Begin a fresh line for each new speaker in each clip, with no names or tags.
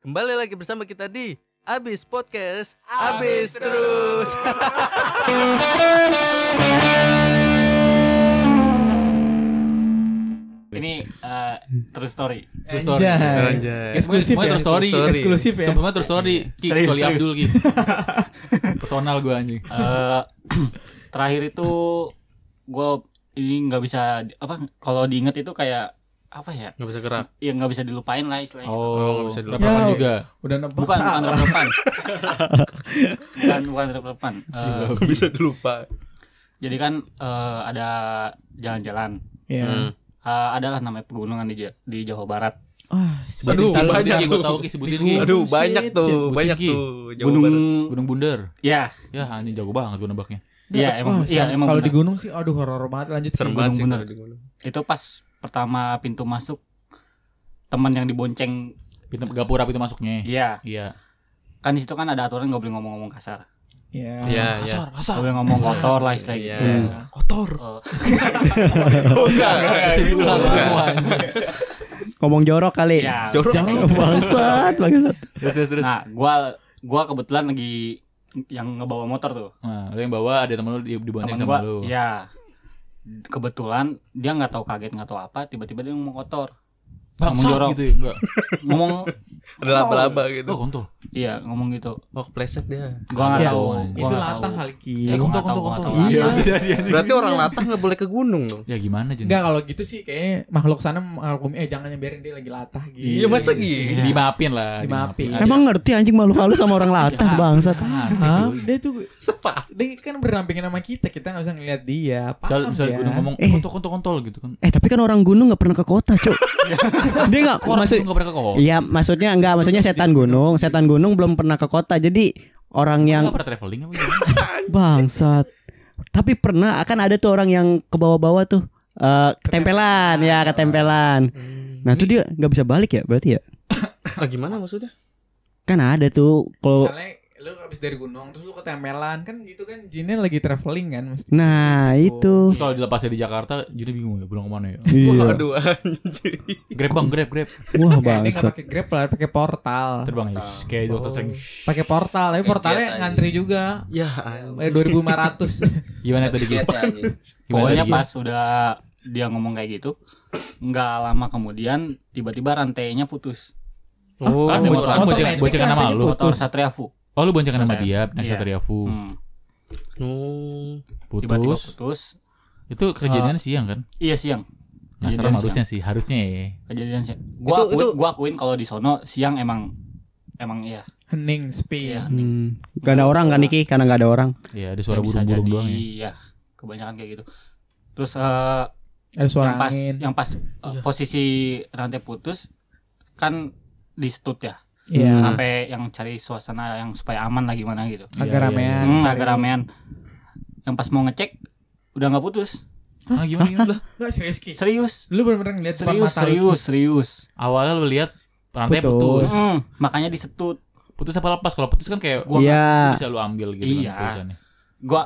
Kembali lagi bersama kita di Abis Podcast, Abis, Terus.
Ini eh, true story.
True story.
Anjay.
Eksklusif
Semuanya
ya?
true story. True story.
Eksklusif ya?
Cuma true story. Ki,
Serius,
kecuali
serius.
Abdul Ki. Iya. Personal gue anjing.
Eh, terakhir itu gue ini nggak bisa di- apa kalau diinget itu kayak apa ya?
Gak bisa gerak.
Ya nggak bisa dilupain lah istilahnya.
Oh,
nggak bisa dilepas.
leprakan
Ya.
juga.
Udah nebak
Bukan bukan
salah.
relevan. bukan bukan relevan. Eh,
Gak bisa dilupa.
jadi kan eh, ada jalan-jalan.
Iya.
Hmm.
Eh, adalah namanya pegunungan di, Ja- di Jawa Barat.
Ah,
Aduh,
Sebutin Ki,
banyak
sebutin Ki, gua
tuh.
tahu Ki sebutin Ki.
Bingung.
Aduh,
Shit,
banyak tuh,
shit.
banyak
Tinggi.
tuh. Jawa
Gunung
Barat.
Gunung Bundar.
ya,
Ya, anjing jago banget gue nebaknya.
ya
Oh,
emang
Wah,
iya
sam-
emang
kalau di
benar.
gunung sih aduh horor banget lanjut
Serem banget
Gunung
sih
bener.
kalau di gunung.
itu pas pertama pintu masuk teman yang dibonceng
Pintu gapura pintu masuknya.
Iya,
Iya.
kan di situ kan ada aturan nggak boleh ngomong-ngomong kasar.
Iya,
Iya.
iya.
Kasar, kasar.
Nggak boleh ngomong kotor lah istilahnya
Iya.
gitu.
Kotor.
Eh,
Oh, Enggak, Iya, enggak,
Kasih diulang
enggak.
semua anjing.
Ngomong jorok
Eh,
kali.
ya.
Jorok.
Jorok bangsat, bangsat.
Terus, terus, terus.
Nah, gua gua kebetulan lagi yang ngebawa motor tuh.
Nah, lu yang bawa ada temen iya. lu di- dibonceng
Temen gua,
sama lu.
ya. Kebetulan dia nggak tahu kaget nggak tahu apa, tiba-tiba dia ngomong kotor.
Bangsat
jorok.
gitu ya. Enggak.
Ngomong
Ada laba-laba
Oh,
gitu.
kontol.
iya, ngomong gitu.
Oh, kepleset dia.
Gua nggak
Iya.
tahu. Gua
Itu
nggak
latah
tahu.
kali Ki.
Ya, gua nggak
Eh, Kontol,
tahu, gua nggak
kontol,
tahu.
kontol.
Iya.
Berarti orang latah nggak boleh ke gunung dong.
Ya gimana jadi?
Enggak kalau gitu sih kayaknya makhluk sana makhluk bumi eh jangan yang biarin dia lagi latah gitu.
Iya, masa gini?
Dimaafin lah.
Dimaafin.
Ada-
Emang ngerti anjing malu halus
Iya.
sama orang latah bangsat.
Ah,
Hah?
cuy.
Dia tuh
Sepa.
dia kan berdampingan sama kita, kita nggak bisa ngeliat dia.
Misal,
Paham
misal
ya?
gunung ngomong
Eh.
kontol kontol kontol gitu kan.
Eh tapi kan orang gunung nggak pernah ke kota cuk. Dia nggak
Kok orang
maksud.
itu nggak pernah ke kota?
Iya maksudnya nggak maksudnya setan gunung. Setan gunung belum pernah ke kota. Jadi orang yang
Nggak pernah traveling apa gimana?
bangsat. Tapi pernah akan ada tuh orang yang ke bawah-bawah tuh. eh, ketempelan ya ketempelan. Nah tuh dia nggak bisa balik ya berarti ya.
Ah, gimana maksudnya?
Kan ada tuh kalau
Misalnya lu habis dari gunung terus lu ketempelan kan gitu kan jinnya lagi traveling kan mesti.
Terus
nah
Iya.
itu.
Kalau dilepasnya di Jakarta, jadi bingung ya pulang kemana ya.
Iya.
Waduh, anjir.
Grab bang, grab, grab.
Wah
Kayak dia nggak
Ah, bangsat.
pakai grab lah, pakai portal.
Terbang ya. Kayak di atas ring.
Pakai portal, tapi portalnya
aja.
ngantri juga.
Ya, anjir.
Eh 2500.
Gimana tadi
Iya,
gitu?
anjing.
Pokoknya pas udah dia ngomong kayak gitu, nggak lama kemudian tiba-tiba rantainya putus.
Oh,
Kan motor
motor- motor
boncengan
metik
boncengan
kan
nama
tadi
lu.
Motor
Putus.
Satria Fu.
Oh, lu boncengan nama
Iya.
dia, naik
Iya.
Satria Fu.
Hmm.
Oh.
Tiba-tiba
Putus.
putus.
Itu kejadiannya siang kan?
Iya siang.
Nah, serem
Kejadian
harusnya sih, harusnya ya.
Kejadian siang. Gua
Itu-
akuin,
itu-
gua akuin kalau di sono siang emang emang iya.
Hening, sepi.
Iya.
Hmm. Gak ada orang kan Niki karena gak ada orang.
Iya, ada suara
Ya, bisa
burung-burung
jadi,
doang ya.
Iya. Kebanyakan kayak gitu. Terus eh,
Ada suara
yang pas
angin.
yang pas eh, posisi rantai putus kan di stut ya.
Iya.
Sampai yang cari suasana yang supaya aman lah gimana gitu.
Iya,
Agak
iya,
ramean.
Hmm, agak ramean. Yang pas mau ngecek udah nggak putus.
Ah, gimana gimana?
Enggak serius Ki.
Serius.
Lu bener-bener ngeliat depan
Serius,
mata lu,
serius, serius.
Awalnya lu lihat rantai
Putus.
putus.
Hmm, makanya disetut.
Putus apa lepas? Kalau putus kan kayak
Gua
Iya.
bisa lu ambil gitu
Iya.
kan putusannya.
Gua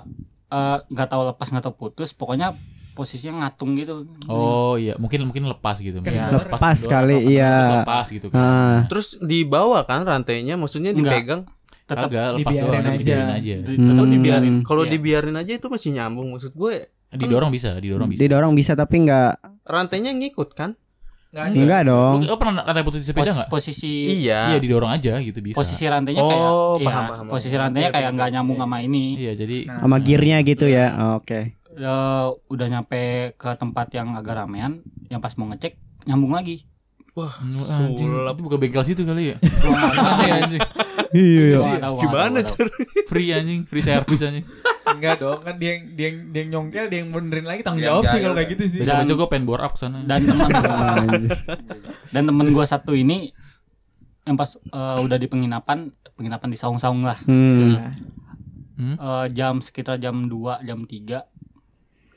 eh, nggak tahu lepas nggak tahu putus, pokoknya posisinya ngatung gitu.
Oh iya, mungkin mungkin lepas gitu.
Kayak
Mungkin
lepas
lepas doang,
kali,
apa,
iya.
terus Lepas gitu kan.
Ah.
Terus dibawa kan rantainya, maksudnya
Enggak.
dipegang.
Tetap
Agak lepas
dibiarin
doang,
aja.
dibiarin aja.
di- tetap
Hmm.
dibiarin.
Kalau
Iya.
dibiarin aja itu masih nyambung maksud gue.
Didorong bisa, didorong bisa.
Didorong bisa tapi nggak
Rantainya ngikut kan?
Enggak.
nggak dong.
Oh pernah rantai putus di sepeda
Pos-
nggak?
posisi
Iya
Iya.
didorong aja gitu bisa.
posisi rantainya kayak
Oh,
iya,
paham, paham.
posisi rantainya kayak nggak
iya.
nyambung sama ini.
Iya jadi
Nah.
Sama gearnya gitu ya. Oh, Oke.
Eh, udah nyampe ke tempat yang agak ramean, yang pas mau ngecek nyambung lagi.
Wah,
Hmm, anjing
sulap.
itu buka bengkel situ kali ya.
Gua nggak tahu,
Aneh anjing.
Iya.
gua
iya.
nggak tahu, gua nggak
Gimana
tahu.
cara?
Free anjing, free service anjing.
Enggak dong, kan dia yang dia yang, dia yang nyongkel, dia yang benerin lagi tanggung
Yang
jawab sih
jahil
kalau kayak
kan.
gitu sih.
Besok besok gue pengen bore up kesana.
Dan teman dan temen gua satu ini yang pas eh, udah di penginapan, penginapan di saung-saung lah.
Hmm.
Iya.
Eh, jam sekitar jam 2 jam 3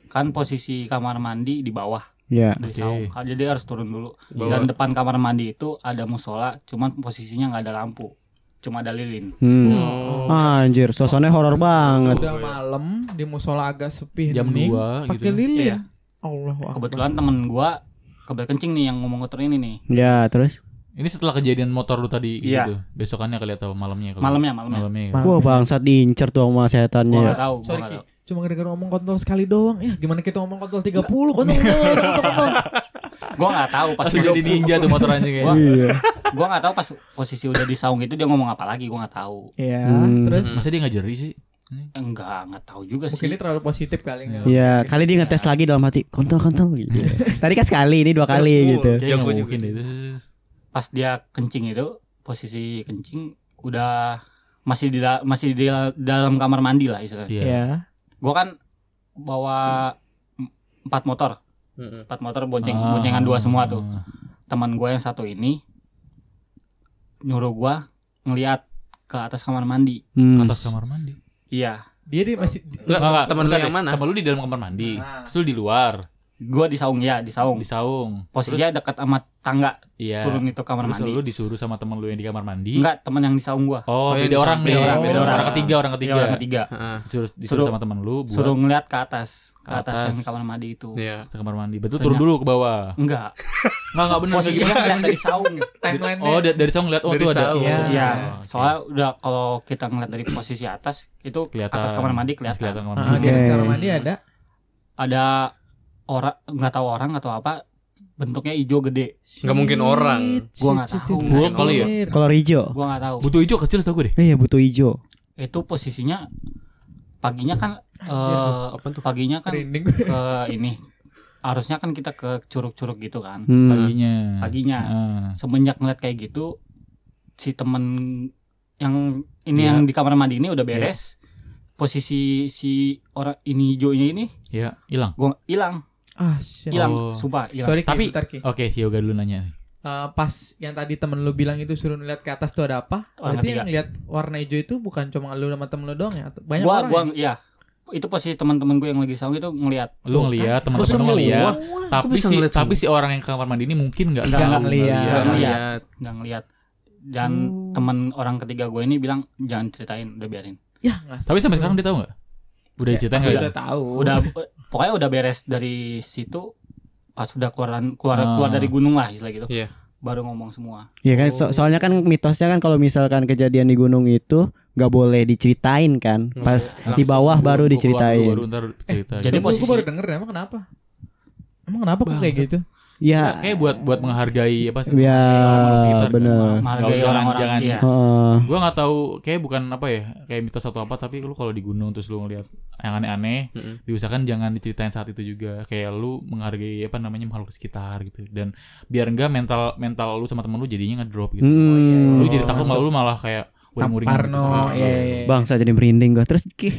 kan posisi kamar mandi di bawah
Ya.
dari
Oke.
saung kan. jadi harus turun dulu
Bawah.
dan depan kamar mandi itu ada musola cuman posisinya nggak ada lampu cuma ada lilin
Hmm.
Oh.
Anjir, suasananya horor banget.
Udah malam di musola agak sepi
Jam
hening,
2
pakai
gitu.
lilin.
Iya.
Allah
kebetulan temen gua kebetulan kencing nih yang ngomong kotor ini nih
Ya, terus
Ini setelah kejadian motor lu tadi
Iya.
gitu. Besokannya kali atau malamnya kalau.
Malamnya, malamnya.
Malamnya. ya.
Wah bangsat diincer tuh sama
Gua
Iya.
setannya.
nggak tahu, gua
Sorry
nggak
Ki,
tahu.
cuma gara-gara ngomong kontol sekali doang. Ya gimana kita ngomong kontol 30? Kontol, kontol, kontol, kontol.
Gua nggak tahu pas
Langsung jadi ninja tuh motor anjing
Wah.
kayaknya.
Iya.
Gua nggak tahu pas posisi udah di saung itu dia ngomong apa lagi, gua nggak tahu.
Iya,
Hmm.
terus
Masa dia nggak jeri sih?
Enggak, nggak tahu juga
mungkin ini
sih.
terlalu positif kali nggak?
Iya, kali dia ngetes lagi dalam hati kontol kontol gitu. Tadi kan sekali, ini dua kali gitu.
Kayaknya nggak
Jago
mungkin deh.
Pas dia kencing itu posisi kencing udah masih di da- masih di da- dalam kamar mandi lah istilahnya.
Iya.
Iya.
Gua kan bawa em- empat motor,
Mm-mm.
empat motor bonceng
Ah.
boncengan dua semua tuh. Teman gua yang satu ini nyuruh gua ngelihat ke atas kamar mandi.
Ke
Hmm.
atas kamar mandi.
Iya,
Dia dia masih
Enggak,
Nggak, nggak,
teman lu
bentar
yang
deh.
mana?
Temen lu di dalam kamar mandi.
Nah.
Terus lu di luar,
gua di saung ya, di saung.
di saung.
Posisinya dekat sama tangga
Terus- iya.
turun itu kamar
Terus
mandi.
lu disuruh sama temen lu yang di kamar mandi.
Enggak, teman yang di saung gua.
Oh,
Oh,
yang
beda
di
orang
samping.
beda orang, beda
Oh.
orang. Orang ketiga, orang
Tiga
ketiga.
orang ketiga.
Heeh.
Disuruh, disuruh
Suruh-
sama temen lu buat
Suruh ngeliat ke atas, ke
Oh, Ke
atas,
atas.
yang kamar mandi itu.
Iya.
ke kamar mandi. Betul
Tanya.
turun dulu ke bawah.
Enggak.
Enggak, enggak benar.
Posisinya ngeliat dari saung.
timeline
Oh, da- dari saung ngeliat oh
Dari
tuh ada.
saung.
Iya.
Iya,
Oh, oke.
soalnya udah kalau kita ngeliat dari posisi atas itu
kelihatan
atas kamar mandi kelihatan.
Kelihatan kamar
Nah, di
mandi.
Oke.
atas kamar mandi ada.
Ada orang nggak tahu orang atau apa bentuknya hijau gede.
Nggak mungkin orang.
Gua nggak tahu.
Gua kali ya.
Kolor hijau.
Gua nggak tahu.
Butuh hijau kecil tau gue deh.
Iya, butuh hijau.
Itu posisinya paginya kan eh,
Apa tuh?
paginya kan
Merinding.
ke ini harusnya kan kita ke curug-curug gitu kan.
Hmm.
Paginya.
Paginya.
Ah.
Semenjak ngeliat kayak gitu si temen yang ini
Iya.
yang di kamar mandi ini udah beres. Posisi si orang ini hijaunya ini
Iya, hilang.
gua hilang.
Ah, shit.
hilang
Oh.
sumpah hilang
Sorry, tapi
Tapi-
bentar, Ki.
Oke, si Yoga dulu nanya.
Eh, pas yang tadi temen lu bilang itu suruh ngeliat ke atas tuh ada apa?
Oh,
Berarti
Orang ketiga.
yang lihat warna hijau itu bukan cuma lu sama temen lu doang ya? Atau banyak
gua
orang.
gua
ya?
iya itu posisi teman-teman gue yang lagi saung itu ngelihat
Lu
Tuh,
ngeliat,
Kok
teman-teman
semua?
ya,
ngeliat. Tapi
bisa
si
ngeliat
tapi si orang yang ke kamar mandi ini mungkin enggak
Nggak
tahu.
ngeliat.
Nggak
Nggak
ngeliat.
ngeliat.
Lihat.
nggak ngelihat dan
Hmm.
teman orang ketiga gue ini bilang jangan ceritain udah biarin
Ya, nggak
Tapi sampai
sih.
sekarang dia tahu enggak? Udah
Ya,
cerita
pasti
enggak?
Udah tahu.
udah pokoknya udah beres dari situ pas udah keluaran keluar
Ah.
keluar dari gunung lah istilah gitu
Iya.
baru ngomong semua
Iya kan, so- soalnya kan mitosnya kan kalau misalkan kejadian di gunung itu nggak boleh diceritain kan, pas
Langsung
di
gua-
bawah baru
gua keluar dulu,
diceritain.
Baru ntar cerita.
jadi
Jadi
posisi-
Gue baru denger emang kenapa? Emang kenapa kok kayak
Bangsat.
gitu?
Ya,
kayak buat buat menghargai apa sih?
Iya,
orang-orang sekitar. kan.
bener.
menghargai
jangan-
orang-orang
jangan.
iya.
heeh.
Gua nggak tahu kayak bukan apa ya, kayak mitos atau apa tapi lu kalau di gunung terus lu ngeliat yang aneh-aneh,
Mm-mm.
diusahakan jangan diceritain saat itu juga. Kayak lu menghargai apa namanya makhluk sekitar gitu dan biar enggak mental mental lu sama temen lu jadinya ngedrop gitu.
Hmm.
Lu jadi takut malah lu malah kayak uring-uringan
Parno,
gitu.
ya, ya, ya.
Bangsa jadi merinding gua. Terus Ki,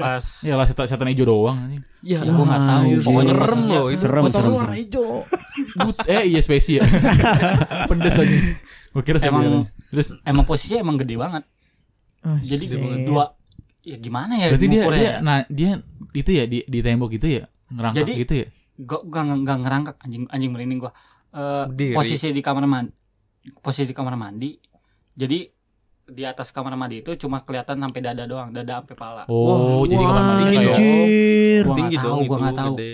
pas
Ya lah setan, setan hijau doang anjing.
ya gue nggak tahu
Anjir,
pokoknya
serem
posisinya-
loh itu.
serem,
Motor
serem,
lu
serem.
warna hijau.
But, eh iya spesies. Pedes anjing. Gua kira
Emang-
sebenarnya. Terus
emang posisinya emang gede banget
Ah,
jadi
shit.
dua ya gimana ya
berarti dia
ngukurnya?
dia nah dia itu ya di di tembok gitu ya ngerangkak
Jadi-
gitu ya.
gak gak gak ngerangkak anjing anjing merinding gua Eh,
Berdiri.
posisi di kamar mandi posisi di kamar mandi jadi di atas kamar mandi itu cuma kelihatan sampai dada doang dada sampai pala
Oh, jadi kamar mandi kayak
Gua
Anjir.
nggak
Tinggi
tahu,
dong itu.
gua nggak tahu.
gede.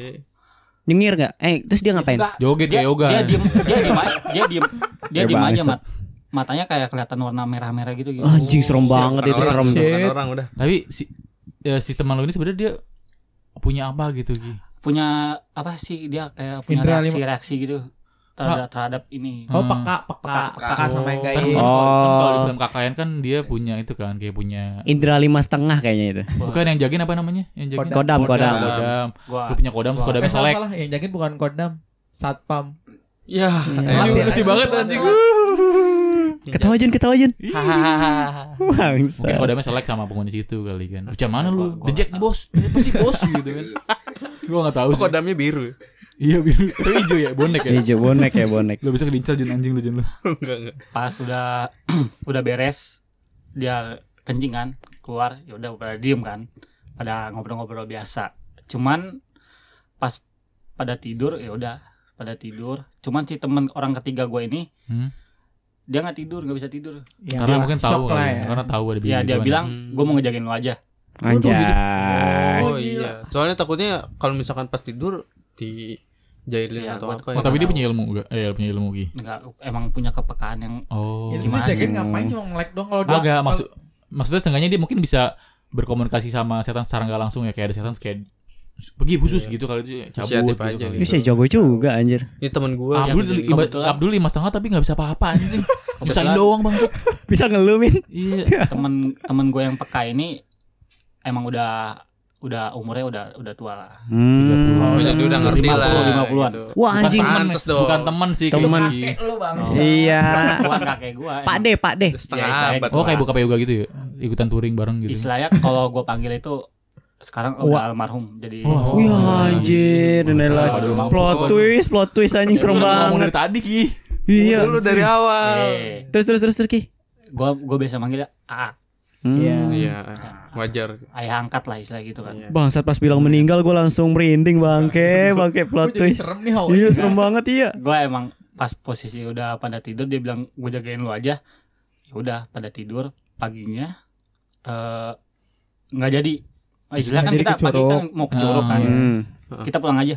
Nyengir nggak? Eh, terus dia ngapain?
Enggak,
joget
dia,
kayak yoga.
dia diem dia diem aja- dia diem dia
Ya,
diem aja
bangsat.
mat matanya kayak kelihatan warna merah-merah gitu
Oh.
gitu
Anjing serem banget itu
Bukan
serem.
orang,
tuh.
bukan
Shit.
orang udah.
Tapi si ya, si teman lu ini sebenarnya dia punya apa gitu Ki?
punya apa sih dia kayak punya
Indra
reaksi reaksi gitu terhadap terhadap ini
Oh,
Hmm.
peka, peka,
Peka.
peka sama yang
Kan
kayak
Iya.
kalau-
Oh.
kan kalau di film KKN kan dia punya itu kan kayak punya
Indra lima setengah kayaknya itu.
bukan yang jagain apa namanya? Yang jagain
Kodam, kodam.
kodam.
gua
Lu punya kodam, terus
Wah.
kodamnya
Eh, salah,
selek.
salah. Yang jagain bukan kodam, satpam.
Ya,
Iya.
Telat
elah.
ya.
Lucu banget anjing.
Ketawa Jun, ketawa Jun.
Hahaha.
Mungkin
Bangsa.
kodamnya selek sama penghuni situ kali kan. Macam mana lu?
Gua- gua
The Jack nih bos. Dia Pasti bos gitu kan. Gua enggak tahu
Oh,
sih.
kodamnya biru.
Iya biru. Itu hijau ya, bonek ya.
Hijau bonek ya bonek.
Lu bisa diincar jin anjing lu jin lu.
Enggak, enggak.
pas udah udah beres dia kencing kan keluar ya udah pada diem kan pada ngobrol-ngobrol biasa cuman pas pada tidur ya udah pada tidur cuman si temen orang ketiga gue ini
Hmm.
dia nggak tidur nggak bisa tidur
Ya,
Karena
dia
mungkin
shock
tahu
lah
kali. Ya. Karena tahu ada
ya dia
gimana.
bilang
Hmm.
gue mau ngejagain lo aja
Anjay.
Oh,
gila.
Ah,
iya. Soalnya takutnya kalau misalkan pas tidur di Jahilin
Iya,
atau
gua-
apa ya?
Oh, tapi
tahu.
dia punya ilmu enggak? Eh, punya ilmu Ki.
Enggak, emang punya kepekaan yang
Oh.
Ya, terus
gimana
dia jagain
sih?
ngapain cuma nge-lag doang kalau dia-
Agak maksud maksudnya setengahnya dia mungkin bisa berkomunikasi sama setan secara nggak langsung ya kayak ada setan kayak pergi khusus
Iya.
gitu kali itu cabut
Inisiatif
gitu
aja
kali.
gitu.
Bisa jago juga anjir.
Ini temen gue yang
Abdul
jadi-
iba-
Kebetulan.
Abdul lima setengah tapi nggak bisa apa-apa anjing. Nyusahin
Kebetulan.
doang bangsat.
Bisa ngelumin.
Iya.
temen temen gue yang peka ini emang udah udah umurnya udah udah tua lah.
Hmm.
Oh,
Iya,
Banyak
jadi udah ngerti
50,
lah.
50-an.
gitu.
Hmm. Wah
Bukan
anjing.
teman,
Pantes dong.
bukan teman sih. gitu.
Teman.
Ki.
Kakek lu bang.
Oh.
Iya.
Tua kakek gue.
Pak De, Pak De.
Setengah
Iya, saya
abad.
Oh, kayak
lah.
buka yoga gitu ya. Ikutan touring bareng gitu.
Istilahnya kalau gue panggil itu sekarang udah almarhum jadi
Wah.
Wih anjir, Nela.
Waduh, mampus,
Plot
waduh.
twist, plot twist anjing serem
Udah ngomong
banget.
dari tadi Ki.
Iya.
Dulu dari awal.
eh
Terus terus terus terus Ki.
gue gue biasa manggilnya A
Iya.
Hmm.
Iya,
Ah.
wajar.
ayah angkat lah istilah gitu kan
Bangsat pas bilang meninggal gue langsung merinding bangke, bangke
Gua
plot
jadi
twist.
serem nih Hawa.
Iya serem banget iya.
gue emang pas posisi udah pada tidur dia bilang gue jagain lu aja ya udah pada tidur paginya eh, nggak jadi Oh, istilah kan
Nggak jadi
kita pagi
kecuruk.
kan mau ke Curug kan
Hmm.
kita pulang aja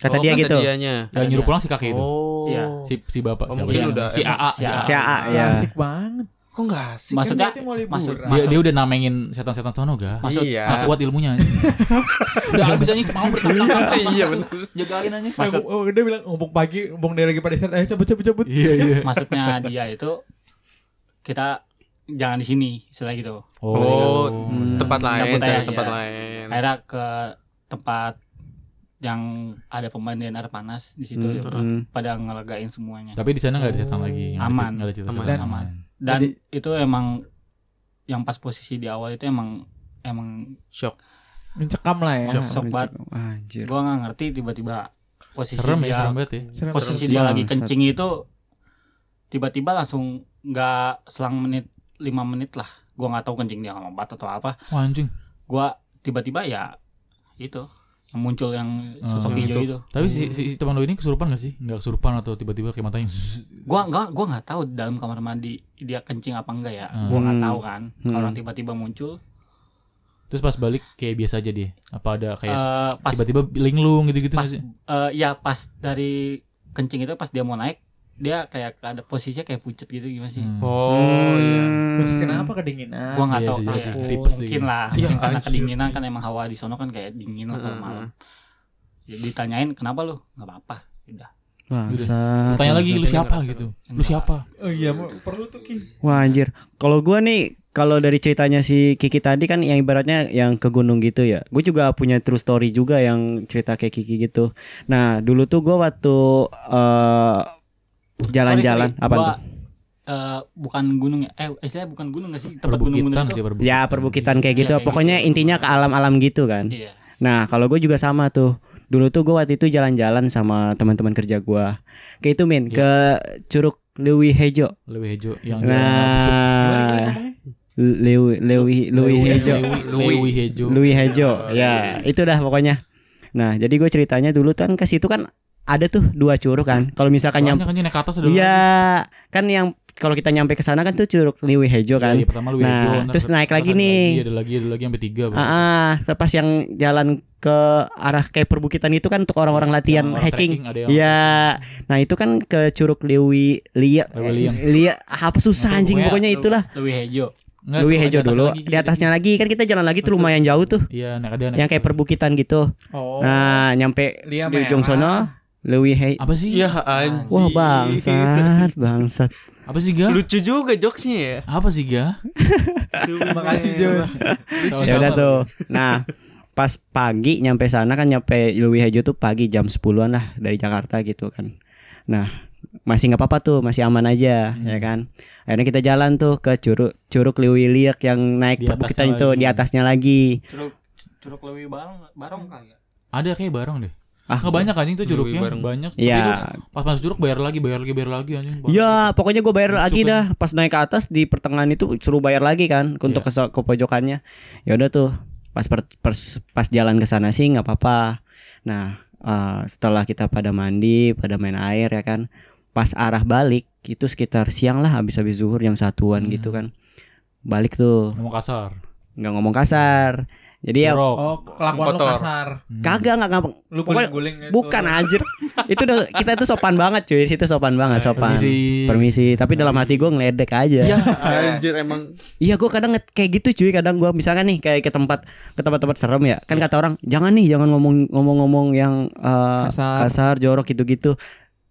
Kata
Oh,
dia gitu.
dianya.
Yang nyuruh pulang si kakek itu.
Oh.
Iya.
Si si
Oh,
bapak siapa
mungkin
sih?
udah-
si AA.
Si AA.
Si
ah,
AA ya.
Asik banget.
Kok enggak sih?
maksudnya
berarti Kan mau liburan.
maksud-
Dia,
maksud-
dia udah namengin setan-setan sono ga?
maksud-
Iya.
Mas kuat ilmunya anjing. Udah habis anjing mau bertangkap.
Iya benar.
Jagain anjing.
maksud-
Eh, gua- dia bilang ngomong pagi, ngomong dari lagi pada set, ayo cabut cabut cabut.
Iya iya.
maksudnya dia itu kita jangan di sini istilah gitu
iya.
Oh,
Hmm.
tempat lain,
Cabut aja,
cari tempat
iya.
lain.
akhirnya ke tempat yang ada pemandian air panas di situ ya.
Hmm.
pada ngelegain semuanya
Tapi di sana nggak ada setan lagi. Nggak ada-
Iya. Aman.
Nggak ada cerita
Aman.
setan.
Aman. dan itu emang yang pas posisi di awal itu emang emang
Shock.
Mencekam lah ya.
Shock. banget.
Oh, Anjir.
gua nggak ngerti tiba-tiba posisi
Serem ya,
dia
serem banget ya.
Serem.
posisi
Serem.
dia
Bangsat.
lagi kencing itu tiba-tiba langsung nggak selang menit lima menit lah gua nggak tahu kencing dia ngambat atau apa
Wah anjing.
gua tiba-tiba ya itu yang muncul yang sosok
Hmm,
hijau itu
Tapi si, si, si teman lo ini kesurupan gak sih? Gak kesurupan atau tiba-tiba kayak matanya zzz.
gua nggak gua nggak tahu dalam kamar mandi dia kencing apa enggak ya
Hmm.
gua nggak tahu kan
Hmm.
orang tiba-tiba muncul
Terus pas balik kayak biasa aja dia Apa
eh
ada kayak
pas
tiba-tiba linglung gitu-gitu
pas
nggak sih?
eh, ya pas dari kencing itu pas dia mau naik dia kayak ada posisinya kayak pucet gitu gimana sih
Hmm.
Oh iya.
Terus kenapa kedinginan?
gua nggak
Iya
tahu
sih,
ah,
jadi
ya.
tipes gitu. dia.
mungkin lah
Iya,
mungkin karena
anjir.
kedinginan kan emang hawa di sono kan kayak dingin lah
Hmm,
kalau
Heeh,
malam Ya, ditanyain kenapa lu nggak apa-apa udah
Bangsat.
Tanya lagi lu
Nggak
siapa
tahu.
gitu Lu siapa?
Oh iya, mau- perlu tuh Ki.
Wah anjir. Kalau gua nih kalau dari ceritanya si Kiki tadi kan yang ibaratnya yang ke gunung gitu ya. Gue juga punya true story juga yang cerita kayak Kiki gitu. Nah, dulu tuh gua waktu eh, jalan-jalan
Sorry, sorry,
apa
gua,
tuh?
eh, bukan gunung ya eh istilahnya bukan gunung nggak sih tempat gunung
Perbukitan gitu.
gunung itu
sih perbukitan
Ya, perbukitan kayak
Iya,
gitu.
kayak
Pokoknya
gitu.
intinya ke alam-alam gitu kan.
iya
Nah, kalau gue juga sama tuh. Dulu tuh gue waktu itu jalan-jalan sama teman-teman kerja gua Kayak itu
Iya.
Min, ke Curug Lewi Hejo.
Lewi Hejo Yang
Gimana gimana
Nah,
ngomongnya?
Lewi Lewi Lewi Hejo.
Lewi Hejo Oh, iya,
Louis Hejo ya itu dah pokoknya nah jadi gue ceritanya dulu kan ke situ kan ada tuh dua curug kan kalau misalkan
Banyak
nyampe
kan naik ke atas ada
iya kan yang kalau kita nyampe ke sana kan tuh curug Liwi Hejo
kan
kan
pertama Lewi
Nah,
Hejo ntar
terus naik lagi
ada
nih.
Ada lagi ada lagi sampai tiga
ah ah, lepas yang jalan ke arah kayak perbukitan itu kan untuk orang-orang latihan hiking Iya, nah itu kan ke Curug Liwi Lia
Lewi Liang.
Lia Ah, apa susah
Nah,
anjing pokoknya
pokoknya
itulah
lebih hejo
Liwi Hejo dulu di atasnya lagi kan kita jalan lagi tuh
Betul.
lumayan jauh tuh
Iya naik ada naik
yang kayak
ada.
perbukitan gitu
Oh.
nah nyampe
Lia
di ujung
merah.
sono Lewi He
Apa sih?
Iya, anjing. Iya.
Wah bangsat, bangsat.
Apa sih ga?
Lucu juga jokesnya ya.
Apa sih ga?
Terima kasih Jun.
Oh,
Ya udah tuh. Nah, pas pagi nyampe sana kan nyampe Lewi Hejo tuh pagi jam 10-an lah dari Jakarta gitu kan. Nah, masih nggak apa-apa tuh, masih aman aja
Hmm.
ya kan. Akhirnya kita jalan tuh ke curug curug Lewi Liak yang naik
Di atasnya
perbukitan itu
lagi.
di atasnya lagi.
curug curug lebih barong barong kali ya
Ada kayak bareng deh.
Ah,
Nggak banyak anjing tuh
Lewi
curugnya
bareng.
banyak. Tapi itu
Iya,
pas masuk curug bayar lagi, bayar lagi, bayar lagi anjing.
ya pokoknya gue bayar
Masuk
lagi
aja.
dah. Pas naik ke atas di pertengahan itu suruh bayar lagi kan untuk ke,
Iya.
so- ke pojokannya. Ya udah tuh pas per- pers- pas jalan ke sana sih nggak apa-apa. Nah eh, setelah kita pada mandi, pada main air ya kan. Pas arah balik itu sekitar siang lah habis-habis zuhur jam satuan
Hmm.
gitu kan. Balik tuh
Ngomong kasar.
nggak ngomong kasar. Jadi ya
Jorok.
Oh, kelakuan lu
Kotor.
kasar.
Hmm.
kagak nggak ngapa
Lu
Pokoknya
guling-guling itu.
bukan anjir itu udah kita itu sopan banget cuy itu sopan banget sopan
Iya, Permisi. Iya,
Permisi, tapi dalam hati gue ngeledek aja
Ya, anjir emang
iya gue kadang nge- kayak gitu cuy kadang gue misalkan nih kayak ke tempat ke tempat-tempat serem ya
Iya.
kan kata orang jangan nih jangan ngomong ngomong-ngomong yang eh,
Kasar.
kasar jorok gitu-gitu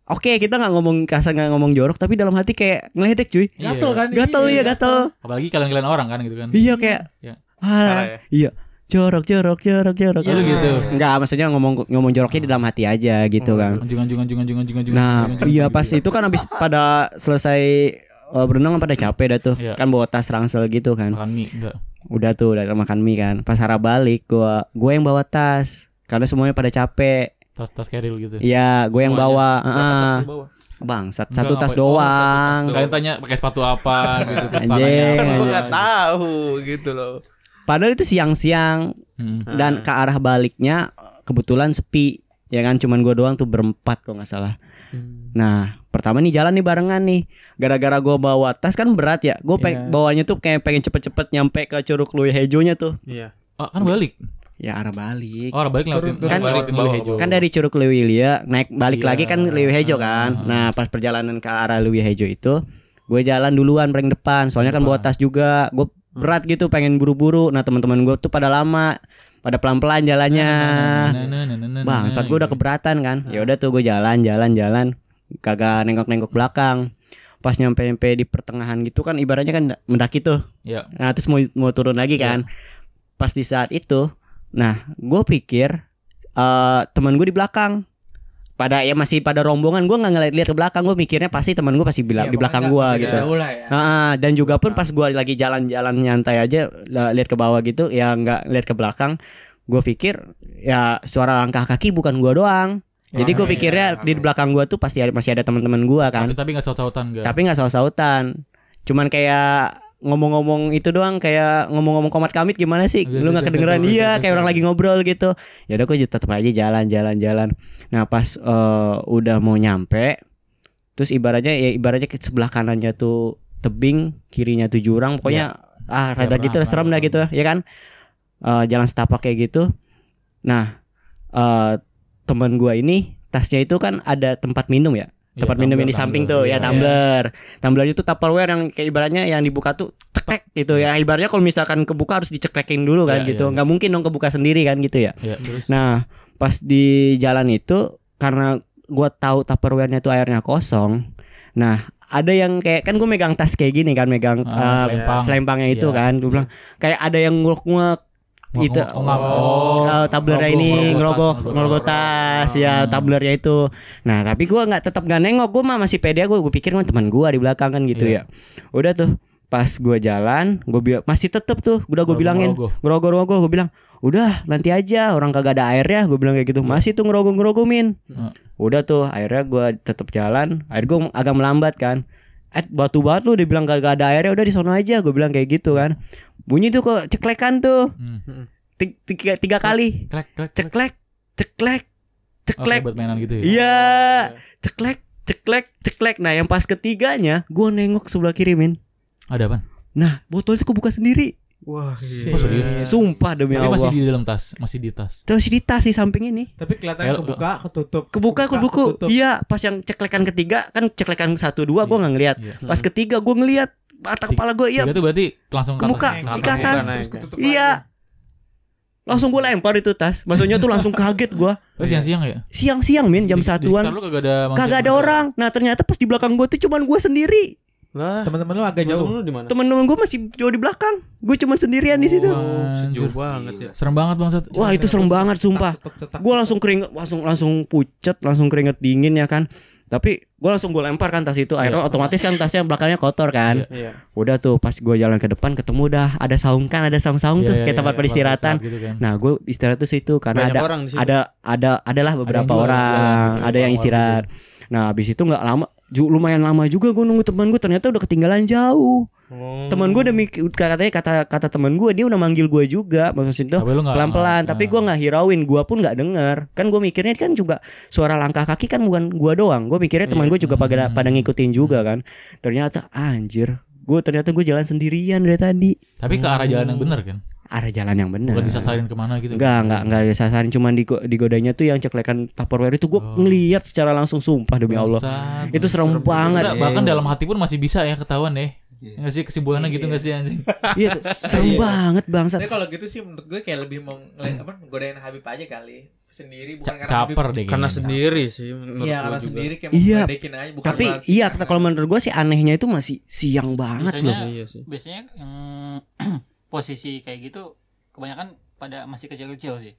Oke kita nggak ngomong kasar nggak ngomong jorok tapi dalam hati kayak ngeledek cuy
Iya.
Gatel kan?
Gatel ya gatel
Apalagi kalian-kalian orang kan gitu kan.
Iya kayak
Iya.
ah,
parah ya.
jorok jorok jorok jorok
Iya, lu gitu.
Enggak maksudnya ngomong ngomong joroknya di dalam hati aja gitu kan
Anjing anjing anjing anjing anjing anjing.
Nah,
anjing, anjing,
iya
anjing,
pas
gitu.
itu kan habis pada selesai eh, berenang kan pada capek dah tuh.
Iya.
Kan bawa tas rangsel gitu kan.
Makan mie enggak.
Udah tuh udah makan mie kan. Pas arah balik gua gua yang bawa tas. Karena semuanya pada capek.
Tas tas keril gitu.
Iya, gua yang
Semuanya.
bawa.
Atas
Heeh.
lu bawah.
Bangsat,
Enggak,
satu
Oh, satu
ngapain.
tas
tas
doang.
doang.
Kalian tanya pakai sepatu apa gitu terus
Anjing.
tangannya apa,
Gua
Iya.
nggak tahu gitu loh.
Padahal itu siang-siang
Hmm.
dan ke arah baliknya kebetulan sepi. Ya kan cuman gua doang tuh berempat kalau nggak salah.
Hmm.
Nah, pertama nih jalan nih barengan nih. Gara-gara gua bawa tas kan berat ya. Gua
Iya.
peng- bawanya tuh kayak pengen cepet-cepet nyampe ke Curug Luy Hejonya tuh.
Iya.
Ah, kan balik.
Ya arah balik.
Oh, orang balik lewatin
Turun,
turun.
balik lewatin Lewi Hejo.
Kan dari Curug Luy Wilya naik balik
Iya.
lagi kan Luy Hejo
Ah.
kan. Nah, pas perjalanan ke arah Luy Hejo itu gue jalan duluan paling depan. Soalnya kan bawa
Depan.
tas juga. Gue
Hmm.
berat gitu pengen buru-buru. Nah, teman-teman gue tuh pada lama, pada pelan-pelan jalannya.
Ah.
Bang, saat gue udah
gitu.
keberatan kan.
Ah.
Ya udah tuh gue jalan, jalan, jalan. Kagak nengok-nengok belakang. Pas nyampe-nyampe di pertengahan gitu kan ibaratnya kan mendaki tuh.
Iya.
Nah, terus mau mau turun lagi
Iya.
kan. Pas di saat itu, nah, gue pikir eh teman gue di belakang pada ya masih pada rombongan gue nggak ngeliat-liat ke belakang gue mikirnya pasti teman gue pasti bila,
Iya,
di belakang gue
pokoknya nggak
gitu
jauh lah ya.
Ah, ah, dan juga pun pas gua lagi jalan-jalan nyantai aja la- lihat ke bawah gitu ya nggak lihat ke belakang gue pikir ya suara langkah kaki bukan gua doang jadi
Ah,
Iya.
gue
Rame,
pikirnya
rame.
di belakang gua tuh pasti ada, masih ada teman-teman gua
Tapi
kan
tapi enggak saut-sautan enggak.
tapi nggak saut-sautan cuman kayak ngomong-ngomong itu doang kayak ngomong-ngomong komat kamit gimana sih
Oke,
lu
oke,
nggak
oke,
kedengeran
oke,
iya
oke,
kayak
oke.
orang lagi ngobrol gitu ya udah gue tetap aja jalan jalan jalan nah pas eh, udah mau nyampe terus ibaratnya ya ibaratnya ke sebelah kanannya tuh tebing kirinya tuh jurang pokoknya ah
Ya,
rada
paham,
gitu lah,
paham,
serem dah
paham.
gitu ya kan Eh, jalan setapak kayak gitu nah eh teman gua ini tasnya itu kan ada tempat minum ya
Iya,
tempat minum yang di samping tuh ya tumbler. Tumbler itu Tupperware yang kayak ibaratnya yang dibuka tuh cekrek gitu ya. Ibaratnya kalau misalkan kebuka harus dicekrekin dulu kan
Iya,
gitu.
iya, iya.
nggak mungkin dong kebuka sendiri kan gitu ya.
Iya, terus.
Nah, pas di jalan itu karena gua tahu Tupperware-nya tuh airnya kosong. Nah, ada yang kayak kan gue megang tas kayak gini kan megang
Ah,
eh,
selempang.
selempangnya itu
Iya.
kan gue bilang kayak ada yang ngulek-ngulek
Ngomong-
itu
ngomong-
oh,
oh,
tablernya
ngerogok, ngerogok
ini ngerogok
tas,
ngerogok tas ya
Hmm.
tablernya itu nah tapi gua nggak tetap nggak nengok gua mah masih pede gue gue pikir kan teman gua di belakang kan gitu
Iya.
ya udah tuh pas gua jalan gue masih tetep tuh udah
Ngerogok,
gue bilangin
ngerogok.
ngerogok-ngerogok gue bilang udah nanti aja orang kagak ada airnya gue bilang kayak gitu masih tuh ngerogok-ngerogok min
Hmm.
udah tuh akhirnya gue tetap jalan air gue agak melambat kan eh batu banget lu dia bilang kagak ada airnya udah di sono aja gue bilang kayak gitu kan bunyi tuh kok ceklekan tuh
Hmm.
Ti- tiga, tiga kali
Krek krek krek.
ceklek ceklek
Oh,
ceklek
kayak buat mainan gitu ya.
iya ceklek ceklek ceklek nah yang pas ketiganya gue nengok sebelah kiri min
Ada apa?
nah botol itu kebuka sendiri
Wah, iya.
Oh, serius?
sumpah demi
Tapi masih
allah
di dalam tas, masih di tas.
terus di tas di samping ini
Tapi kelihatan
Kayak-
kebuka, ketutup.
kebuka aku buku
ketutup.
iya pas yang ceklekan ketiga kan ceklekan satu dua gue
Iya,
nggak ngeliat
iya.
pas
Hmm.
ketiga gue ngeliat mata
Tiga-
kepala gue iya
Tiga tuh berarti langsung
Ke muka,
atas. ya?
ke atas.
Bukan,
Terus
naik.
ketutup
Iya.
lagi.
langsung gue lempar itu tas maksudnya tuh langsung kaget gue
Oh, siang-siang ya?
siang-siang min jam
Di- di sekitar
satuan
lu kagak ada manusia
kagak ada
yang-
orang nah ternyata pas di belakang gue tuh cuman gue sendiri
Lah,
Teman-teman lu agak jauh.
jauh lu di mana?
temen-temen gue masih jauh di belakang gue cuman sendirian di situ
Oh,
Anjir.
Jauh banget ya.
Serem banget Bang Sat.
wah itu serem banget sumpah
Cetak, cetak, cetak.
gue langsung keringet langsung langsung pucet langsung keringet dingin ya kan tapi gue langsung gue lempar kan tas itu akhirnya
Iya.
otomatis kan tasnya belakangnya kotor kan
Iya.
Udah tuh pas gue jalan ke depan ketemu dah ada saung kan ada
Iya,
saung-saung tuh
iya,
kayak
iya,
tempat
iya,
peristirahatan.
gitu kan.
Nah gue istirahat tuh situ karena
Banyak
ada
orang di situ.
ada ada adalah beberapa
jualan,
orang
jualan gitu,
ada yang
warung-warung
istirahat. Nah abis itu nggak lama ju- lumayan lama juga gue nunggu teman gue ternyata udah ketinggalan jauh.
Oh.
Teman gue demi katanya kata kata teman gue dia udah manggil gue juga maksudnya tuh
Tapi lu nggak-
pelan-pelan
nah.
tapi gue nggak hirauin gue pun nggak denger kan gue mikirnya kan juga suara langkah kaki kan bukan gue doang gue mikirnya
Iya.
teman gue juga
Hmm.
pada pada ngikutin juga kan ternyata anjir gue ternyata gue jalan sendirian dari tadi
Tapi ke arah jalan yang benar kan?
arah jalan yang benar.
Bukan disasarin kemana gitu.
Enggak, enggak, enggak disasarin cuman digo- digodanya tuh yang ceklekan Tupperware itu gua
Oh.
ngeliat secara langsung sumpah demi Allah.
Bangsat.
Itu serem,
Serem
banget. Iya,
Enggak, bahkan dalam hati pun masih bisa ya ketahuan ya.
Iya.
Enggak sih kesibulannya gitu enggak sih anjing.
Iya, tuh, serem
Iya.
banget bangsat.
Tapi kalau gitu sih menurut gue kayak lebih mau ngeliat apa godain Habib aja kali. Sendiri bukan
Ca-
karena Habib.
Caper deh
Karena
kayaknya.
sendiri sih menurut Iya, gue karena juga. sendiri kayak
Iya,
menggodekin aja bukan Oh,
Tapi
berarti
iya
karena-
Oh,
kalau menurut gua sih anehnya itu masih siang banget
Biasanya-
loh.
Iya.
Iya sih.
biasanya yang posisi kayak gitu kebanyakan pada masih kecil-kecil sih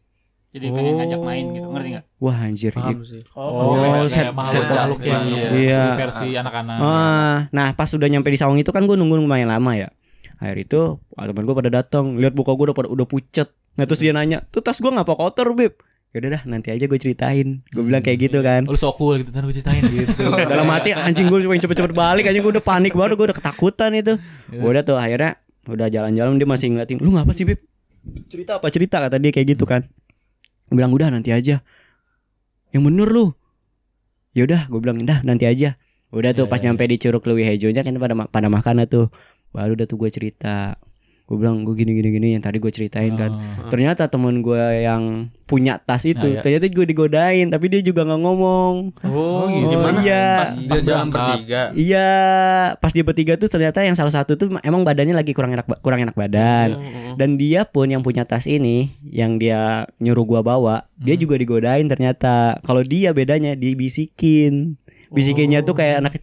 jadi pengen
Oh.
ngajak main gitu ngerti nggak
Wah anjir.
Paham sih.
Oh,
versi
set-
makhluk
set-
iya, makhluk ya. yang
iya.
Iya.
versi anak-anak.
Ah, nah pas udah nyampe di saung itu kan gue nunggu lumayan lama ya. Akhir itu wah, temen gue pada datang, lihat muka gue udah pada udah pucet. Nah terus dia nanya, tuh tas gue nggak kotor beb? Yaudah dah, nanti aja gue ceritain. Gue bilang kayak gitu kan.
Lu sok cool gitu, ntar gue ceritain gitu.
Dalam hati anjing gue pengen cepet-cepet balik, anjing gue udah panik baru gue udah ketakutan itu. Gua udah tuh akhirnya udah jalan-jalan dia masih ngeliatin, lu ngapa sih beb? Cerita apa cerita kata dia kayak gitu kan. Gue bilang udah nanti aja. Yang bener lu. Yaudah, gue bilang dah nanti aja. Udah
Iya,
tuh pas
iya,
nyampe di Curug Lewi Hejonya kan pada ma- pada makan dah tuh. Baru udah tuh gue cerita. Gue bilang gue gini gini gini yang tadi gue ceritain kan. Ternyata temen gue yang punya tas
Oh.
itu
Nah, iya.
ternyata gue digodain tapi dia juga nggak ngomong.
Oh,
gitu.
gimana?
iya.
Pas dia jalan
berangkat.
bertiga.
Iya, pas dia bertiga tuh ternyata yang salah satu tuh emang badannya lagi kurang enak ba- kurang enak
Oh,
Hmm.
badan. Dan dia pun yang punya tas ini yang dia nyuruh gua bawa, dia
Hmm.
juga digodain ternyata. Kalau dia bedanya dibisikin. Bisikinnya tuh kayak anak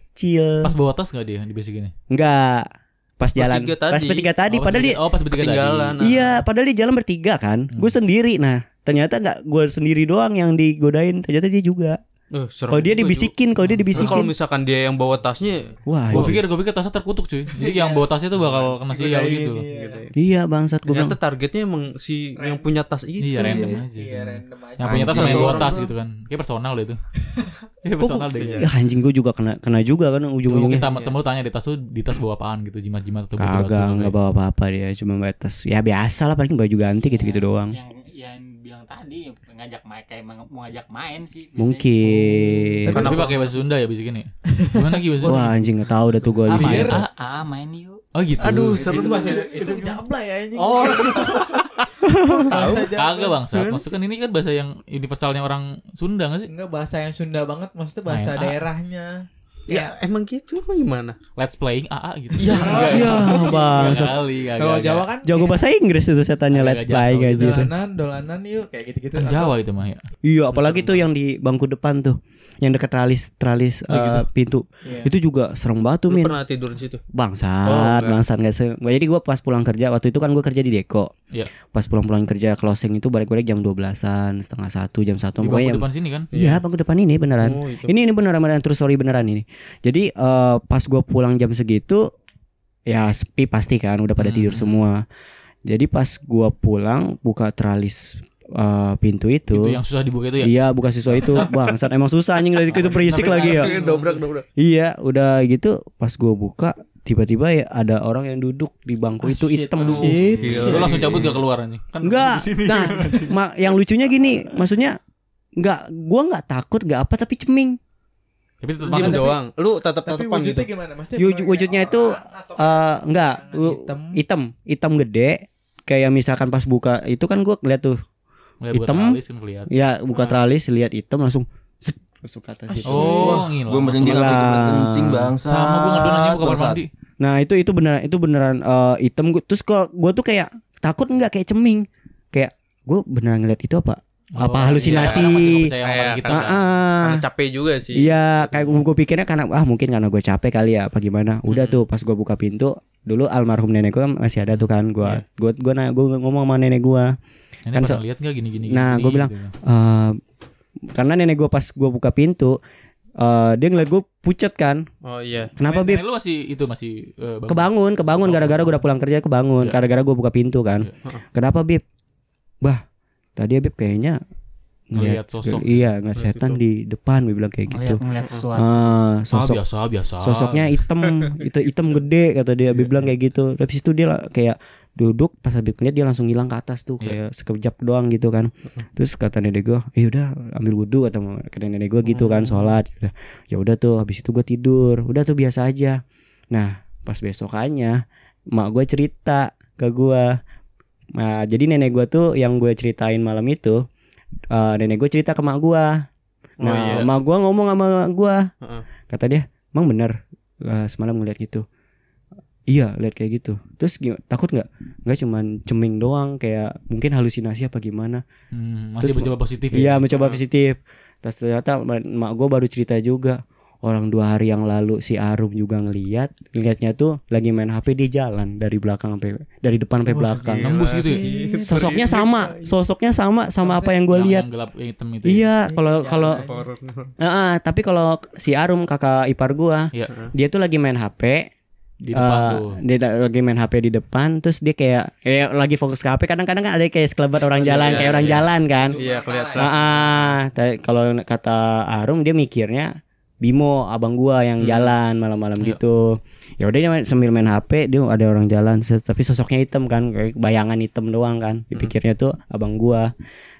Oh.
kecil.
Pas bawa tas gak dia di basic ini?
Enggak. Pas jalan.
Bertiga
Pas
tadi.
bertiga Eh, tadi.
Oh, pas
padahal dia.
bertiga- Oh pas bertiga tadi.
Ketinggalan. nah.
Iya. Padahal dia jalan bertiga kan.
Hmm.
Gue sendiri. Nah. Ternyata nggak gue sendiri doang yang digodain. Ternyata dia juga.
Eh, serem
Kalau dia
juga, Ju.
dibisikin. Kalau dia
Serem.
Terus Kalau
dibisikin.
misalkan dia yang bawa tasnya
Wah.
Gue
iya.
pikir gue pikir tasnya terkutuk cuy. Jadi yang bawa tasnya tuh bakal kena sial gitu.
Iya bangsat gue bilang.
ya. ternyata targetnya emang si yang punya tas itu.
Iya random aja.
Iya,
sebenarnya.
random aja.
Yang punya tas sama
Anjing.
yang bawa
Orang
tas
tuh.
gitu kan. Kayak personal deh itu. Iya
Kok
personal
gua-
deh.
Ya, anjing gue juga kena kena juga kan
Coba mungkin
ujung-ujungnya.
tam- temen lu tanya di tas tuh di tas bawa apaan gitu jimat-jimat atau
Kagak nggak bawa apa-apa dia cuma batas ya biasa lah paling baju
Iya.
ganti gitu-gitu doang.
yang yang bilang tadi ngajak main kayak meng- mau ngajak main sih biasanya.
Mungkin.
Karena tapi pakai bahasa Sunda ya bisa gini. Gimana Ki bahasa Sunda?
Wah anjing nggak tahu dah tuh gue
ah,
di sini.
ya?
main ah, ah, main yuk
Oh gitu.
Aduh, serem banget.
Itu jabla ya ini.
Oh,
tahu. Kagak bangsa. Maksudnya kan ini kan bahasa yang universalnya orang Sunda gak sih?
Enggak bahasa yang Sunda banget maksudnya bahasa
Main A.
daerahnya.
Ya emang gitu apa gimana?
Let's playing AA gitu.
Iya.
Enggak,
Iya,
enggak.
bangsat.
Kali, kagak,
Kalau
kagak.
Jawa kan
Jago bahasa Inggris itu
Iya.
setannya
Agak
let's
jaso
play
gitu.
gitu.
dolanan, dolanan yuk kayak gitu-gitu.
Kan Jawa itu mah ya.
Iya, apalagi tuh yang di bangku depan tuh, yang dekat tralis tralis
Oh, gitu.
eh, pintu.
Iya.
Itu juga serem banget tuh,
Lu
Min.
pernah tidur di situ? Oh,
Bangsat,
enggak.
bangsat guys. Jadi gua pas pulang kerja waktu itu kan gua kerja di Deko.
Iya.
Pas pulang-pulang kerja closing itu balik-balik jam 12-an, setengah satu, jam satu.
Di
Pokoknya
bangku
yang-
depan sini kan.
Iya, bangku depan ini beneran.
Oh,
Hmm.
itu.
Ini ini beneran beneran terus sorry beneran ini. Jadi eh, pas gua pulang jam segitu ya sepi pasti kan udah pada
Hmm.
tidur semua. Jadi pas gua pulang buka teralis eh, pintu itu.
Itu yang susah dibuka itu ya.
Iya buka siswa itu bangsat emang susah anjing dari itu berisik lagi ya.
Dobrak dobrak.
Iya udah gitu pas gua buka tiba-tiba ya ada orang yang duduk di
Ah,
bangku
Ah,
itu hitam.
Lu langsung cabut gak keluar anjing. Kan
Enggak. Iya. Nah, ma- yang lucunya gini, maksudnya enggak gua enggak takut enggak apa tapi ceming.
Tapi tetap
Diam
masuk doang.
doang. Lu tatap
Tapi
tatapan
wujudnya
gitu.
gimana? Maksudnya
Yuj-
kayak
wujudnya itu,
orang atau
Eh enggak
kayak
lu-
hitam.
hitam hitam gede kayak misalkan pas buka itu kan gua lihat tuh Hitam.
Alis kan kelihatan.
Ah.
ya buka tralis lihat hitam langsung zep, langsung ke atas gitu.
Oh, ngilang.
gue merinding
Lah.
habis gue kencing bangsa.
Sama gue ngadon aja buka kamar mandi.
nah itu itu beneran itu beneran eh, hitam gua terus kok gua tuh kayak takut enggak kayak ceming kayak gua beneran ngeliat itu apa Apa halusinasi?
Kayak kita.
ah
kan.
ah.
Karena capek juga sih.
Iya, kayak gue pikirnya karena ah mungkin karena gue capek kali ya apa gimana. Udah
Hmm.
tuh pas gue buka pintu, dulu almarhum nenek gue masih ada tuh kan.
Iya.
Gue gue gue ngomong sama nenek gue.
Ini
Kan
pernah
so-
lihat gak gini-gini? gini,
Nah, gua bilang,
gitu.
Eh, karena nenek gue pas gue buka pintu, eh, dia ngeliat gue pucet kan.
Oh iya.
Kenapa
Nenek
bib?
Lu masih itu masih eh, bangun.
Kebangun, kebangun gara-gara gue udah pulang kerja kebangun.
Iya.
Gara-gara gue buka pintu kan. Kenapa bib? Bah, tadi ya, bib kayaknya
Ngeliat
ngeliat
sosok.
Iya,
Ngeliat
ngeliat setan
itu.
di depan. Gue bilang kayak gitu.
ngeliat ngeliat sesuatu
Ah,
Ah,
sosok
biasa biasa.
sosoknya hitam itu hitam gede kata dia Habib bilang kayak gitu habis itu dia la- kayak duduk pas Habib ngeliat dia langsung hilang ke atas tuh kayak sekejap doang gitu kan terus kata nenek gue ya udah ambil wudhu kata mama- kata nenek gue gitu kan sholat ya udah ya udah tuh habis itu gue tidur udah tuh biasa aja nah pas besokannya mak gue cerita ke gue Nah, jadi nenek gua tuh yang gue ceritain malam itu eh, nenek gue cerita ke mak gua.
Oh, iya.
Nah, mak gua ngomong sama gua.
Heeh.
Kata dia, "Emang bener eh, semalam ngeliat gitu." Iya, lihat kayak gitu. Terus gim- takut nggak? Nggak cuman ceming doang kayak mungkin halusinasi apa gimana.
Hmm, masih
Terus-
mencoba positif
Iya
ya.
mencoba
Ah.
positif Terus ternyata emak gue baru cerita juga Orang dua hari yang lalu si Arum juga ngeliat Ngeliatnya tuh lagi main HP di jalan Dari belakang sampai Dari depan sampai
Wah,
belakang
gila. Nembus gitu ya?
Sosoknya sama Sosoknya sama Iya. sama apa yang gue
Yang-
lihat
yang gelap yang hitam itu. ya.
Iya kalau kalau Ah, ah, Tapi kalau si Arum kakak ipar gua
Iya.
Dia tuh lagi main HP
Di depan
eh,
tuh.
Dia da- lagi main HP di depan Terus dia kayak eh, Lagi fokus ke HP Kadang-kadang kan ada kayak sekelebat orang jalan
iya,
Kayak orang
iya.
jalan kan
Iya kelihatan.
ya.
Ah, ah. Ta- kalau kata Arum dia mikirnya Bimo abang gua yang
Hmm.
jalan malam-malam
Iya.
gitu. Ya udah dia main- sambil main HP dia ada orang jalan se- tapi sosoknya hitam kan kayak bayangan hitam doang kan. Dipikirnya tuh abang gua.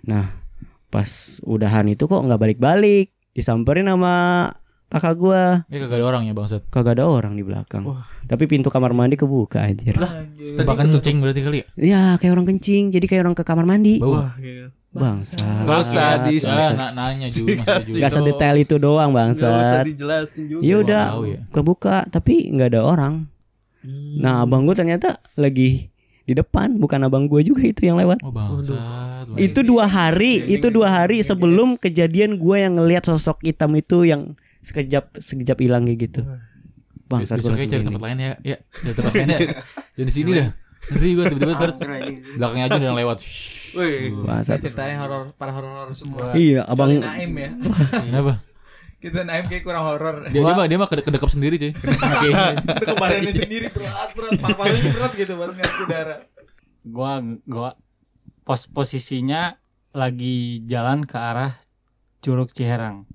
Nah, pas udahan itu kok nggak balik-balik. Disamperin sama kakak gua.
Ini kagak ada orang ya bangsat.
Kagak ada orang di belakang. Tapi pintu kamar mandi kebuka anjir.
Bahkan kencing berarti kali ya.
Ya, kayak orang kencing. Jadi kayak orang ke kamar mandi.
Bau.
Iya.
Bangsa.
Nggak usah di-
Ya,
Bangsat.
na- nanya juga masih ada juga.
Gak sedetail itu doang bangsat.
dijelasin juga.
Ya
Gua
udah,
tahu ya.
kebuka tapi nggak ada orang. Nah,
Hmm.
abang gue ternyata lagi di depan, bukan abang gue juga itu yang lewat.
Oh bangsat. bangsat.
Itu dua hari,
Iya,
itu dua hari sebelum kejadian gue yang ngelihat sosok hitam itu yang sekejap sekejap hilang kayak gitu. Bangsat
Besoknya
gue langsung
cari
merinding.
tempat lain ya. Ya, cari tempat lain ya. Jadi sini dah. Ngeri gue tiba-tiba terus belakangnya aja udah yang lewat. Shhh.
Bangsat.
ceritanya horor para horor semua.
Iya, abang
Kecuali Naim ya.
Kenapa?
Kita Naim kayak kurang horor.
Dia, dia mah dia mah kedek- kedekap sendiri cuy.
Itu ke badannya
Iya.
sendiri berat berat, paru-parunya berat gitu buat ngeliat udara.
gua gua pos posisinya lagi jalan ke arah Curug Ciherang.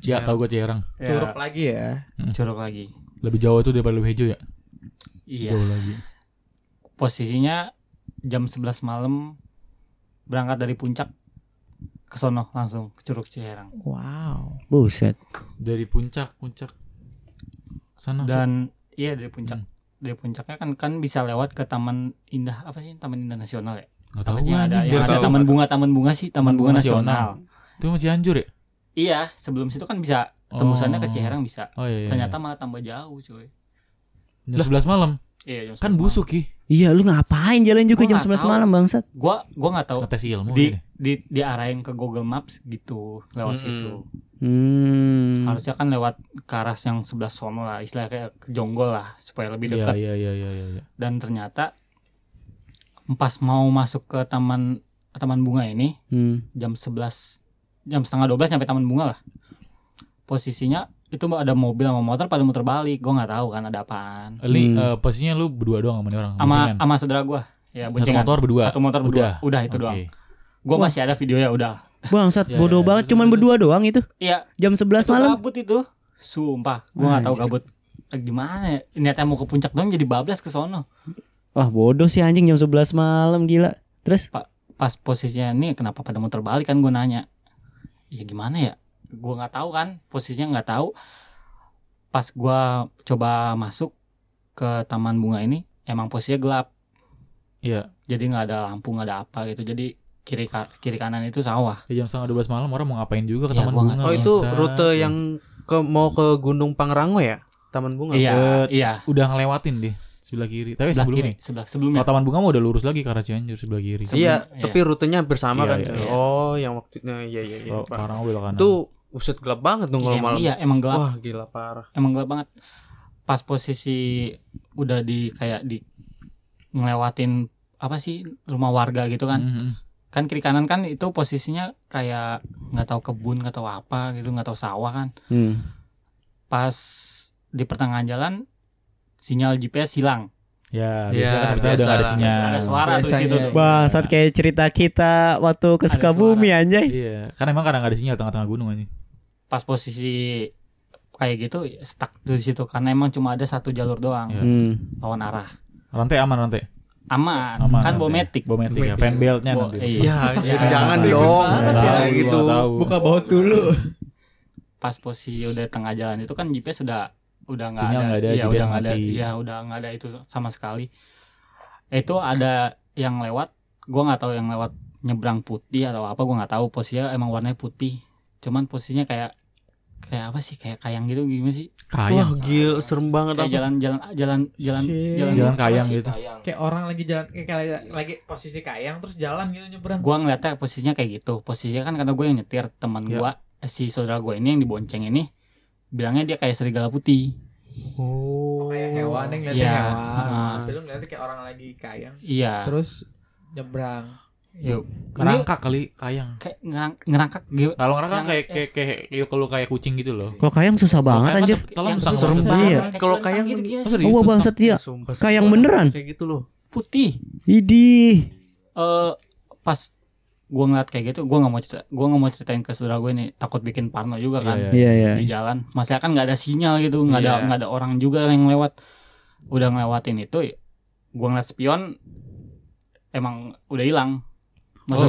Ya, tahu gue Ciherang.
Ya,
Curug lagi ya.
curug lagi.
Lebih jauh itu daripada lebih hijau ya.
Iya.
Jauh lagi.
Posisinya jam 11 malam berangkat dari puncak ke sono langsung ke Curug Ciherang.
Wow.
buset.
Dari puncak, puncak. Sana. sana.
Dan iya dari puncak. Dari puncaknya kan kan bisa lewat ke Taman Indah apa sih Taman Indah Nasional ya?
Nggak
Apa
tahu
sih
gue
yang ada,
anjing.
yang
Dari
ada
sana.
Taman Bunga Taman Bunga sih Taman
Taman Bunga
Bunga
Nasional.
Nasional.
Itu masih Cianjur ya?
Iya, sebelum situ kan bisa tembusannya ke
Oh.
Ciherang bisa.
Oh iya. iya.
Ternyata malah tambah jauh, cuy.
jam 11 malam.
Iya, jam
Kan
11 malam.
busuk ki.
Iya, lu ngapain jalan juga
Gua
jam
nggak
11
tahu.
malam bangsat?
gua gua nggak tahu
Ngetes ilmu. ya.
di
kali.
di diarahin ke Google Maps gitu lewat
Mm-mm.
situ
Hmm.
Mm.
harusnya kan lewat ke arah yang sebelah sono lah istilahnya kayak ke jonggol lah supaya lebih
Iya
dekat
iya iya iya iya. iya.
dan ternyata pas mau masuk ke taman taman bunga ini
Hmm.
jam 11 jam setengah 12 nyampe taman bunga lah posisinya itu ada mobil sama motor pada muter balik gua nggak tahu kan ada apaan
Li,
Hmm.
eh, posisinya lu berdua doang sama dia orang.
sama
boncengan?
sama saudara gua ya
satu
boncengan
motor berdua.
satu motor berdua udah, itu
Oke.
doang gua masih ada videonya udah
Bangsat
Ya,
bodoh
ya,
banget
terus,
cuman
terus,
berdua doang itu.
iya
Jam 11
Itu
malam.
gabut itu sumpah gua nggak tahu
Anjir.
gabut Eh, gimana ya niatnya mau ke puncak doang jadi bablas ke sono
Wah, bodoh sih anjing jam 11 malam gila. Terus
pas posisinya ini kenapa pada muter balik kan gua nanya ya gimana ya gua nggak tahu kan posisinya nggak tahu pas gua coba masuk ke taman bunga ini emang posisinya gelap
Iya.
jadi nggak ada lampu nggak ada apa gitu jadi kiri ka- kiri kanan itu sawah
Ya, jam setengah 12 malam orang mau ngapain juga
Iya,
ke taman
gua nggak
bunga.
tahu.
Oh itu
bangsat.
rute yang ke mau ke Gunung Pangrango ya? Taman bunga.
iya
Eh,
iya
udah ngelewatin deh sebelah kiri. Tapi
sebelah
sebelum
kiri
nih.
sebelah sebelumnya Iya,
Kalau taman bunga mau udah lurus lagi ke arah Cianjur sebelah kiri.
Sebelum-
Iya,
iya.
tapi rutenya hampir sama
Iya,
kan.
iya, Oh,
iya.
Oh, yang waktunya iya iya iya.
Kalau
Pak.
orang belok kanan.
Itu buset gelap banget dong kalau
Iya,
malam.
iya emang gelap
Wah, gila parah.
emang gelap banget pas posisi udah di kayak di ngelewatin apa sih rumah warga gitu kan
Mm-mm.
kan kiri kanan kan itu posisinya kayak nggak tahu kebun nggak tahu apa gitu nggak tahu sawah kan
hmm.
pas di pertengahan jalan sinyal GPS hilang
Ya,
Iya,
biasanya kan kita udah nggak ada
biasa.
sinyal.
ada suara tuh di
Biasanya.
situ tuh
Bangsat kayak cerita kita waktu ke
Ada
Sukabumi
Eh.
anjay.
Iya, karena emang kadang nggak ada sinyal tengah-tengah gunung aja.
pas posisi kayak gitu stuck tuh di situ karena emang cuma ada satu jalur doang
Iya.
Hmm.
lawan arah
Rantai aman rantai.
aman,
Aman.
kan
rantai.
bometik
Bometik ya, fan beltnya
Bo-
nanti.
iya.
Iya,
Ya,
iya, jangan
Iya.
dong.
Nggak
Kayak
tahu, gua
gitu.
nggak tahu.
Buka baut dulu.
pas posisi udah tengah jalan itu kan GPS sudah udah nggak
Sinyal
ada,
nggak ada,
Iya,
GPS
udah nggak ada,
mati.
Iya, udah nggak ada itu sama sekali. Itu ada yang lewat gua nggak tahu yang lewat nyebrang putih atau apa gua nggak tahu posisinya emang warnanya putih cuman posisinya kayak kayak apa sih kayak kayang gitu gimana sih
Kayang.
Wah gil serem banget
kayak
apa.
jalan jalan jalan jalan
Shit.
jalan,
Jalan kayang gitu.
Kayak orang lagi jalan kayak kayak lagi posisi kayang terus jalan gitu nyebrang.
gua ngeliatnya posisinya kayak gitu posisinya kan karena gue yang nyetir teman
Ya.
gua eh, si saudara gue ini yang dibonceng ini bilangnya dia kayak serigala putih
Oh, kayak hewan yang ngeliatnya
Iya.
hewan.
Heeh.
Tapi lu ngeliatnya kayak orang lagi kayang
iya
terus nyebrang.
yuk
Ngerangkak kali kayang.
kayak ngerang- ngerangkak gitu
Kalau ngerangkak kan
Yang-
kayak kayak kayak kayak- kalau kayak kucing gitu loh.
Kalau kayang susah banget
Kayak
anjir.
masuk- Tolong
Yang
tang-
serem
masuk-
banget.
kayak
Kalau
celentang
kayang
gitu dia
Oh, serius?
Wah bangsat
iya.
dia.
Sumpah,
Kayang
sumpah.
Iya, beneran.
Kayak gitu loh.
putih
Idih.
eh pas gua ngeliat kayak gitu gua nggak mau cerita gua nggak mau ceritain ke saudara gue ini takut bikin parno juga kan
Iya,
Iya iya.
di jalan maksudnya kan nggak ada sinyal gitu nggak ada
Iya.
nggak ada orang juga yang lewat udah ngelewatin itu gua ngeliat spion emang udah hilang
Masa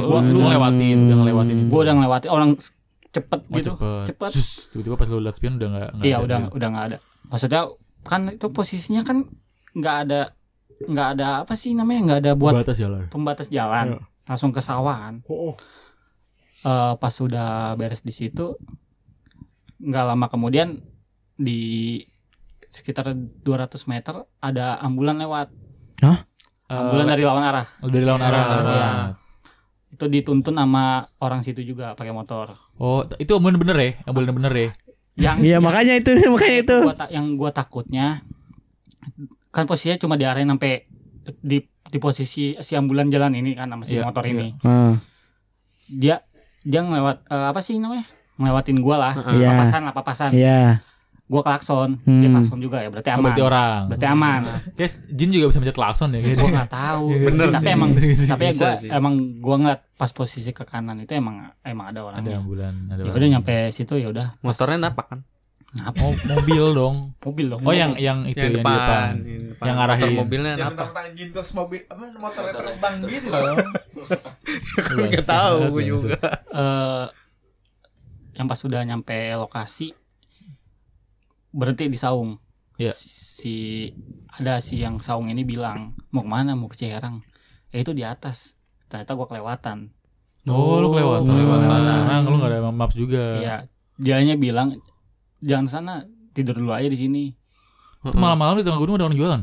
maksud
gua
gua
lu ngelewatin, udah ngelewatin itu.
Hmm. gua udah ngelewatin orang s- cepet
Oh,
gitu
cepet.
cepet.
Sus, tiba-tiba pas lu liat spion udah enggak
iya udah udah nggak ada maksudnya kan itu posisinya kan nggak ada nggak ada apa sih namanya nggak ada buat
Batas jalan.
pembatas Iya. jalan langsung ke sawah kan Eh, pas sudah beres di situ nggak lama kemudian di sekitar 200 meter ada ambulan lewat ambulan dari lawan arah
Eh, dari lawan
Iya,
arah.
iya. itu dituntun sama orang situ juga pakai motor
Oh, t- itu ambulan bener ya? Ambulan bener ya?
yang
Iya
yang-
makanya itu makanya itu.
gua ta- yang gua takutnya kan posisinya cuma diarahin sampai di di posisi si ambulan jalan ini kan sama si
Iya,
motor
iya.
ini
Ah,
dia dia ngelewat eh, apa sih namanya ngelewatin gua lah
Iya.
papasan lah papasan
Iya.
gue klakson dia
Hmm.
klakson juga ya berarti
Oh,
aman
Berarti
berarti,
orang. Iya.
aman
Guys, Jin juga bisa mencet klakson ya
gue
gitu.
nggak tahu
Bener
tapi
sih.
emang
Iya,
sih.
tapi ya
Bisa
gua,
sih.
emang gue ngeliat pas posisi ke kanan itu emang emang ada orang
Ada ambulan, ada.
ya
orang.
udah nyampe situ ya udah Pas-
Motornya napa kan?
Ngap-
Mo- mobil dong.
mobil dong
Oh, yang yang itu yang, di depan.
Yang, depan.
Yang
Motor
ngarahin. Iya.
mobilnya
Jangan
napa?
mentang-mentang anjing terus mobil apa motornya terbang gitu loh.
Iya,
Gak tahu gue juga.
Eh, yang pas sudah nyampe lokasi berhenti di saung
Iya.
si ada si yang saung ini bilang mau kemana mau ke Ciherang ya itu di atas ternyata gue kelewatan
Oh, lu kelewatan.
Oh.
Nah, lu gak ada maps juga.
Iya, dianya bilang jangan sana tidur dulu aja di sini.
Itu malam-malam di tengah gunung ada orang jualan.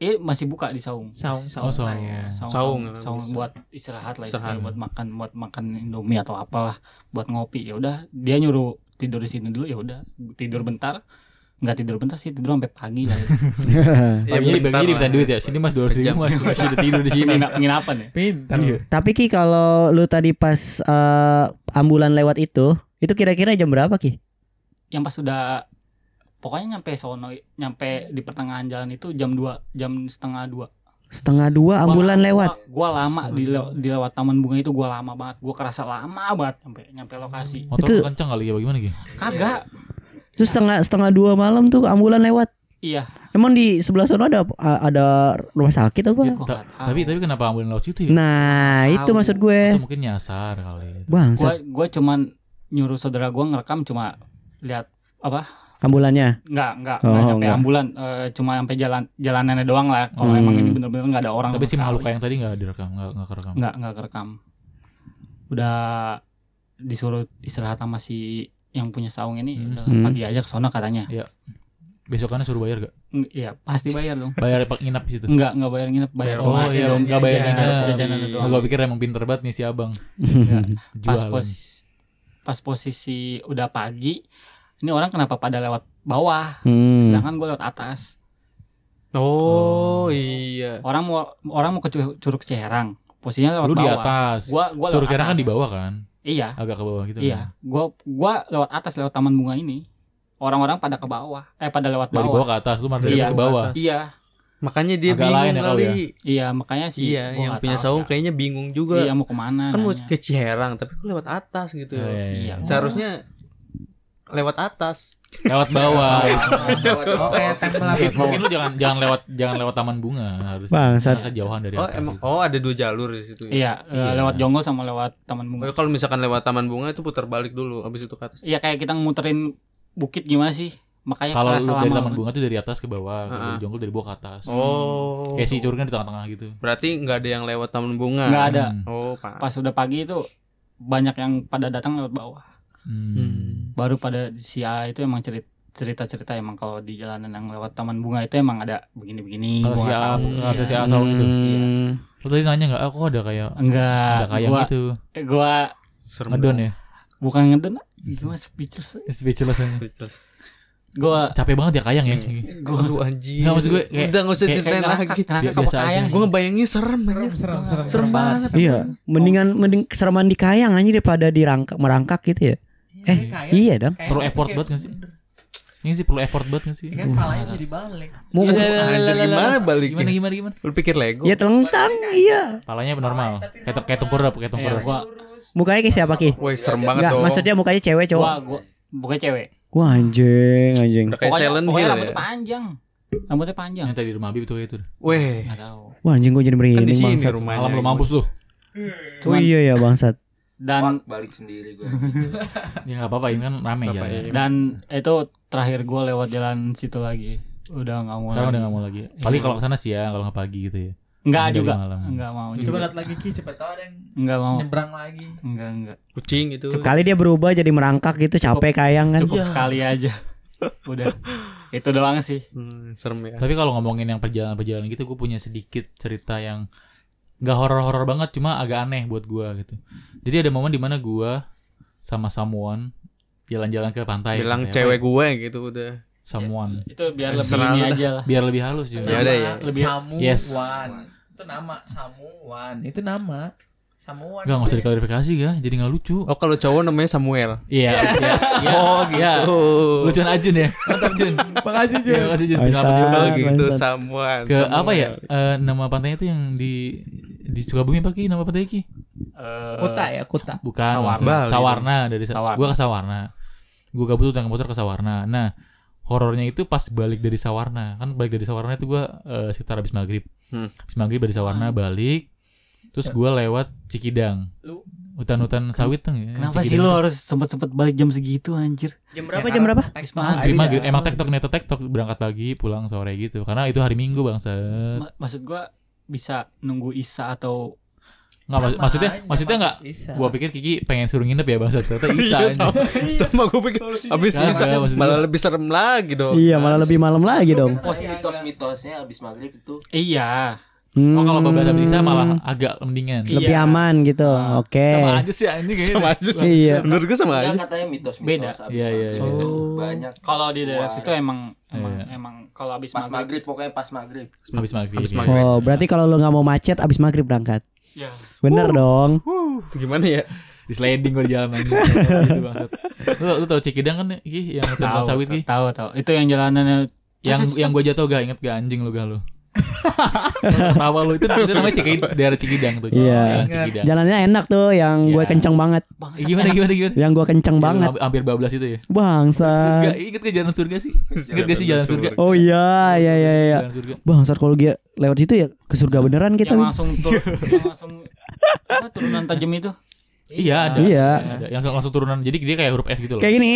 Eh masih buka di saung.
Saung saung.
Oh, saung.
iya.
Saung.
saung, saung buat istirahat lah,
Istirahat.
istirahat. buat makan, buat makan indomie atau apalah, buat ngopi. Ya udah, dia nyuruh tidur di sini dulu. Ya udah, tidur bentar. Nggak tidur bentar sih, tidur sampai pagi lah.
Iya,
Pagi
bentar
pagi diminta
lah.
duit ya. Sini Mas 200
Jam.
ribu Mas. Masih udah tidur di sini.
Pengina- Penginapan ya.
Pintar.
Iya.
Tapi Ki kalau lu tadi pas eh, ambulan lewat itu, itu kira-kira jam berapa Ki?
Yang pas udah pokoknya nyampe sono, nyampe di pertengahan jalan itu jam 2, jam setengah 2.
Setengah dua ambulan
Gua-
lewat.
gua- gua lama di, lew- di lewat taman bunga itu gua lama banget gua kerasa lama banget nyampe nyampe lokasi
Motor
Itu-
lu kencang kali ya bagaimana
Ah.
gitu?
kagak
Terus setengah setengah dua malam tuh ambulan lewat.
iya
Emang di sebelah sana ada ada rumah sakit apa?
Ya gua nggak tahu.
Tapi tapi kenapa ambulan lewat situ ya?
Nah, itu
Iya. Tahu.
maksud gue.
Atau mungkin nyasar kali.
gua
Bangsat
gua cuman nyuruh saudara gua ngerekam cuma lihat
ambulannya.
nggak nggak
Oh,
nggak nyampe
nggak.
ambulan Eh, cuma nyampe jalan jalanannya doang lah kalau
Hmm.
emang ini bener-bener nggak ada orang
Tapi si
sama
makhluk
sekali.
yang tadi nggak direkam, nggak nggak kerekam.
nggak nggak kerekam udah disuruh istirahat sama si yang punya saung ini
Hmm.
udah
Hmm.
pagi aja ke sono katanya
Besokannya suruh bayar gak?
Mm, iya pasti bayar dong
Bayar pak nginap di situ.
Enggak, enggak bayar nginep, bayar
Oh
cuma
iya,
jajan-
nggak bayar
jajan-
nginep.
jajanannya doang.
Gue pikir emang pinter banget nih si abang.
Pas
Jualan.
posisi pas posisi udah pagi, ini orang kenapa pada lewat bawah,
Hmm.
sedangkan gue lewat atas.
Oh iya.
Orang mau orang mau ke Cu- Curug Ciherang, posisinya lewat
Lu di
bawah.
atas.
Gua gua lewat
Curug Cerang kan
atas.
di bawah kan?
Iya,
Agak ke bawah gitu.
iya.
kan?
Gua gua lewat atas lewat taman bunga ini. Orang-orang pada ke bawah, eh pada lewat
Dari
bawah.
bawah ke atas, lu malah dari
Iya.
atas ke bawah.
Iya,
Makanya dia
Agak lain
bingung
ya
kali.
kalau
iya makanya sih.
Iya,
gua
yang
nggak
punya
tahu
saung
sih.
kayaknya bingung juga.
Iya mau kemana?
kan mau
nanya.
ke Ciherang tapi kok lewat atas gitu
Oh,
ya.
iya, iya.
Iya.
Seharusnya lewat atas.
Lewat bawah. Iya.
Oh, kayak tempel apa?
Iya,
Mungkin lu jangan jangan lewat jangan lewat taman bunga harus.
Bangsat.
Karena kejauhan dari
Oh
atas
emang
gitu.
oh ada dua jalur di situ. Ya?
Iya, eh,
Iya.
lewat jonggol sama lewat taman bunga.
Oh, kalau misalkan lewat taman bunga itu putar balik dulu habis itu ke atas.
Iya kayak kita muterin bukit gimana sih? makanya
Kalau
kerasa
lu dari
lama.
taman bunga tuh dari atas ke bawah, kalau
Heeh.
lu jonggol dari bawah ke atas.
Oh.
Kayak si curgan di tengah-tengah gitu.
Berarti nggak ada yang lewat taman bunga.
nggak ada
Hmm.
Oh, Pak.
pas udah pagi itu banyak yang pada datang lewat bawah
Hmm.
Hmm.
baru pada di sia itu emang cerita cerita-cerita emang kalau di jalanan yang lewat taman bunga itu emang ada begini-begini
Kalau
gua
si
nggak
A,
tahu.
ada si A Saung itu.
Hmm.
Iya.
Lu tadi nanya nggak? Aku ada kayak
Nah,
enggak
ada kayak
gua eh,
gitu.
gua
Serem.
Ngedon ya.
bukan ngeden gua speechless
Speechless aja.
Speechless. Hmm.
gua
Capek banget ya kayang ya.
gua
Aduh anjing.
Nggak, maksud gue kayak-
udah nggak usah
kayak-
ceritain lagi.
kenapa
Biasa aja
kayang
sih.
Gue ngebayangin serem anjir.
serem serem
Serem banget.
Iya,
Eh,
mendingan mending sereman di kayang aja daripada di rangka- merangkak gitu ya. Eh, iya dong.
Perlu
gitu
effort banget nggak sih? Ini sih perlu effort banget nggak sih? Uh.
kan palanya bisa dibalik
Mau
Aduh, anjir gimana
Gimana
baliknya?
gimana gimana?
Lu pikir Lego?
ya telentang, iya.
Palanya normal. Kayak kayak tengkurap, kayak
Iya,
tengkurap.
gua
Mukanya kayak siapa ki?
Woi serem banget
Enggak,
dong.
maksudnya mukanya cewek
gua
cowok.
gua bukan cewek
Wah anjing, anjing.
Udah kayak
Pokoknya-
Silent
pokoknya
Hill
rambutnya
ya.
panjang rambutnya panjang
Yang tadi di rumah Habib itu kayak itu.
Weh,
nggak tahu
Wah anjing gue jadi
kan di
merinding
sini
bangsat.
rumahnya.
Malam lu mampus lu.
Oh
cuman
iya ya bangsat.
dan
Fuck, balik sendiri gue.
Ya enggak apa-apa, ini kan rame
Apa
ya.
ya?
dan itu terakhir gua lewat jalan situ lagi udah nggak mau
Sekarang udah
lagi.
nggak mau lagi. Kali iya. kalau kesana siang, kalau nggak pagi gitu ya.
nggak
Dari
juga
malam.
nggak mau
coba
juga.
lihat lagi ki siapa tahu ada yang
nggak
Oh.
mau
nyebrang lagi
nggak nggak
Kucing itu.
Kali dia berubah jadi merangkak gitu capek kayang kan.
cukup sekali aja udah itu doang sih
Hmm, serem ya.
Tapi kalau ngomongin yang perjalanan-perjalanan gitu, gue punya sedikit cerita yang nggak horor-horor banget, cuma agak aneh buat gua gitu. Jadi ada momen dimana gua sama someone jalan-jalan ke pantai.
Bilang
Pantai
cewek
apa ya?
gue gitu udah.
Someone.
itu biar lebih
Terserah
ini
lu dah.
aja lah
Biar lebih halus juga.
Ya
Iya.
udah ya.
lebih-
samu
Yes.
wan itu nama samu wan itu nama samu wan
Gak, nggak usah diklarifikasi ga, jadi nggak lucu.
Oh kalau cowok namanya Samuel.
Iya, iya, iya.
Oh gitu.
Lucuan Ajun ya. Mantap Jun. Makasih Jun. Makasih Jun.
Makasih.
Selamat
Oh
Jun.
gitu
Bangsat.
Samuel.
Ke
Samuel.
apa ya? Eh, nama pantainya tuh yang di di Sukabumi apa Ki? Nama pantai Ki?
Eh,
kota ya kota
Bukan
Sawarna.
maksudnya.
Bali.
Sawarna dari Sa-
Sawarna.
Gua ke Sawarna. Gua gabut tuh naik motor ke Sawarna. Nah, horornya itu pas balik dari Sawarna. Kan balik dari Sawarna itu gua eh, sekitar habis maghrib.
Hmm.
Habis maghrib dari Sawarna balik. Terus gua lewat Cikidang.
Lu-
Hutan-hutan sawit tuh ya.
kenapa sih
Cikidang
lo
tuh.
harus sempet-sempet balik jam segitu anjir
Jam
Ya,
berapa jam berapa?
Habis
Maghrib,
maghrib
maghrib.
Iya.
Emang tektok neto tektok berangkat pagi pulang sore gitu. Karena itu hari Minggu bang. Set.
Ma- Eh, maksud gua bisa nunggu isa atau
Nggak, mak-
Sama
maksudnya
aja,
maksudnya
Pak.
nggak.
Bisa.
Gua pikir Kiki pengen suruh nginep ya bang. Set. Ternyata bisa.
Iya,
anjing.
sama, sama gue pikir abis
Kagak,
bisa
maksudnya.
malah lebih serem lagi dong.
Iya malah lebih malam lagi
Iya,
dong.
Pos mitos-mitosnya abis maghrib itu
iya
oh kalau bablas habis bisa malah
Hmm,
agak mendingan.
lebih
Iya.
aman gitu.
Sama
Oke.
aja sih anjing kayaknya.
sama aja sih.
Iya.
Menurut gue sama aja.
Enggak Kan katanya mitos-mitos
Beda.
abis
Iya, iya,
maghrib
iya.
itu
Oh.
banyak.
kalau di daerah situ emang emang
Iya.
emang kalau habis
pas
maghrib
maghrib pokoknya pas maghrib.
Habis maghrib.
Habis
ya.
maghrib.
Oh berarti kalau lu nggak mau macet abis maghrib berangkat.
ya
Bener dong.
Itu gimana ya?
Di sliding gua di jalan anjing. Gitu, bangsat. Lu lu tahu Cikidang kan Ki yang hutan
tahu
sawit Ki?
tahu tahu itu yang jalanannya
Yang yang gua jatuh gak inget gak anjing lu gak lu. Tawa lu itu itu namanya Cikidang daerah Cikidang tuh.
Iya.
Daerah Cikidang.
Jalannya enak tuh yang gue
Iya.
kenceng banget.
Eh, Gimana gimana gimana?
Yang gue kenceng banget.
Iya,
Eh.
Lu Hampir bablas itu ya. Surga, iya.
Bangsat.
inget gak jalan surga sih? Inget gak sih jalan surga?
Oh iya iya iya iya.
Jalan surga.
Bangsat kalau dia lewat situ ya ke surga beneran kita.
yang
nih.
langsung tur yang langsung apa turunan tajam itu
Iya ada.
Iya.
Ada. Yang langsung turunan. Jadi dia kayak huruf S gitu loh.
Kayak gini.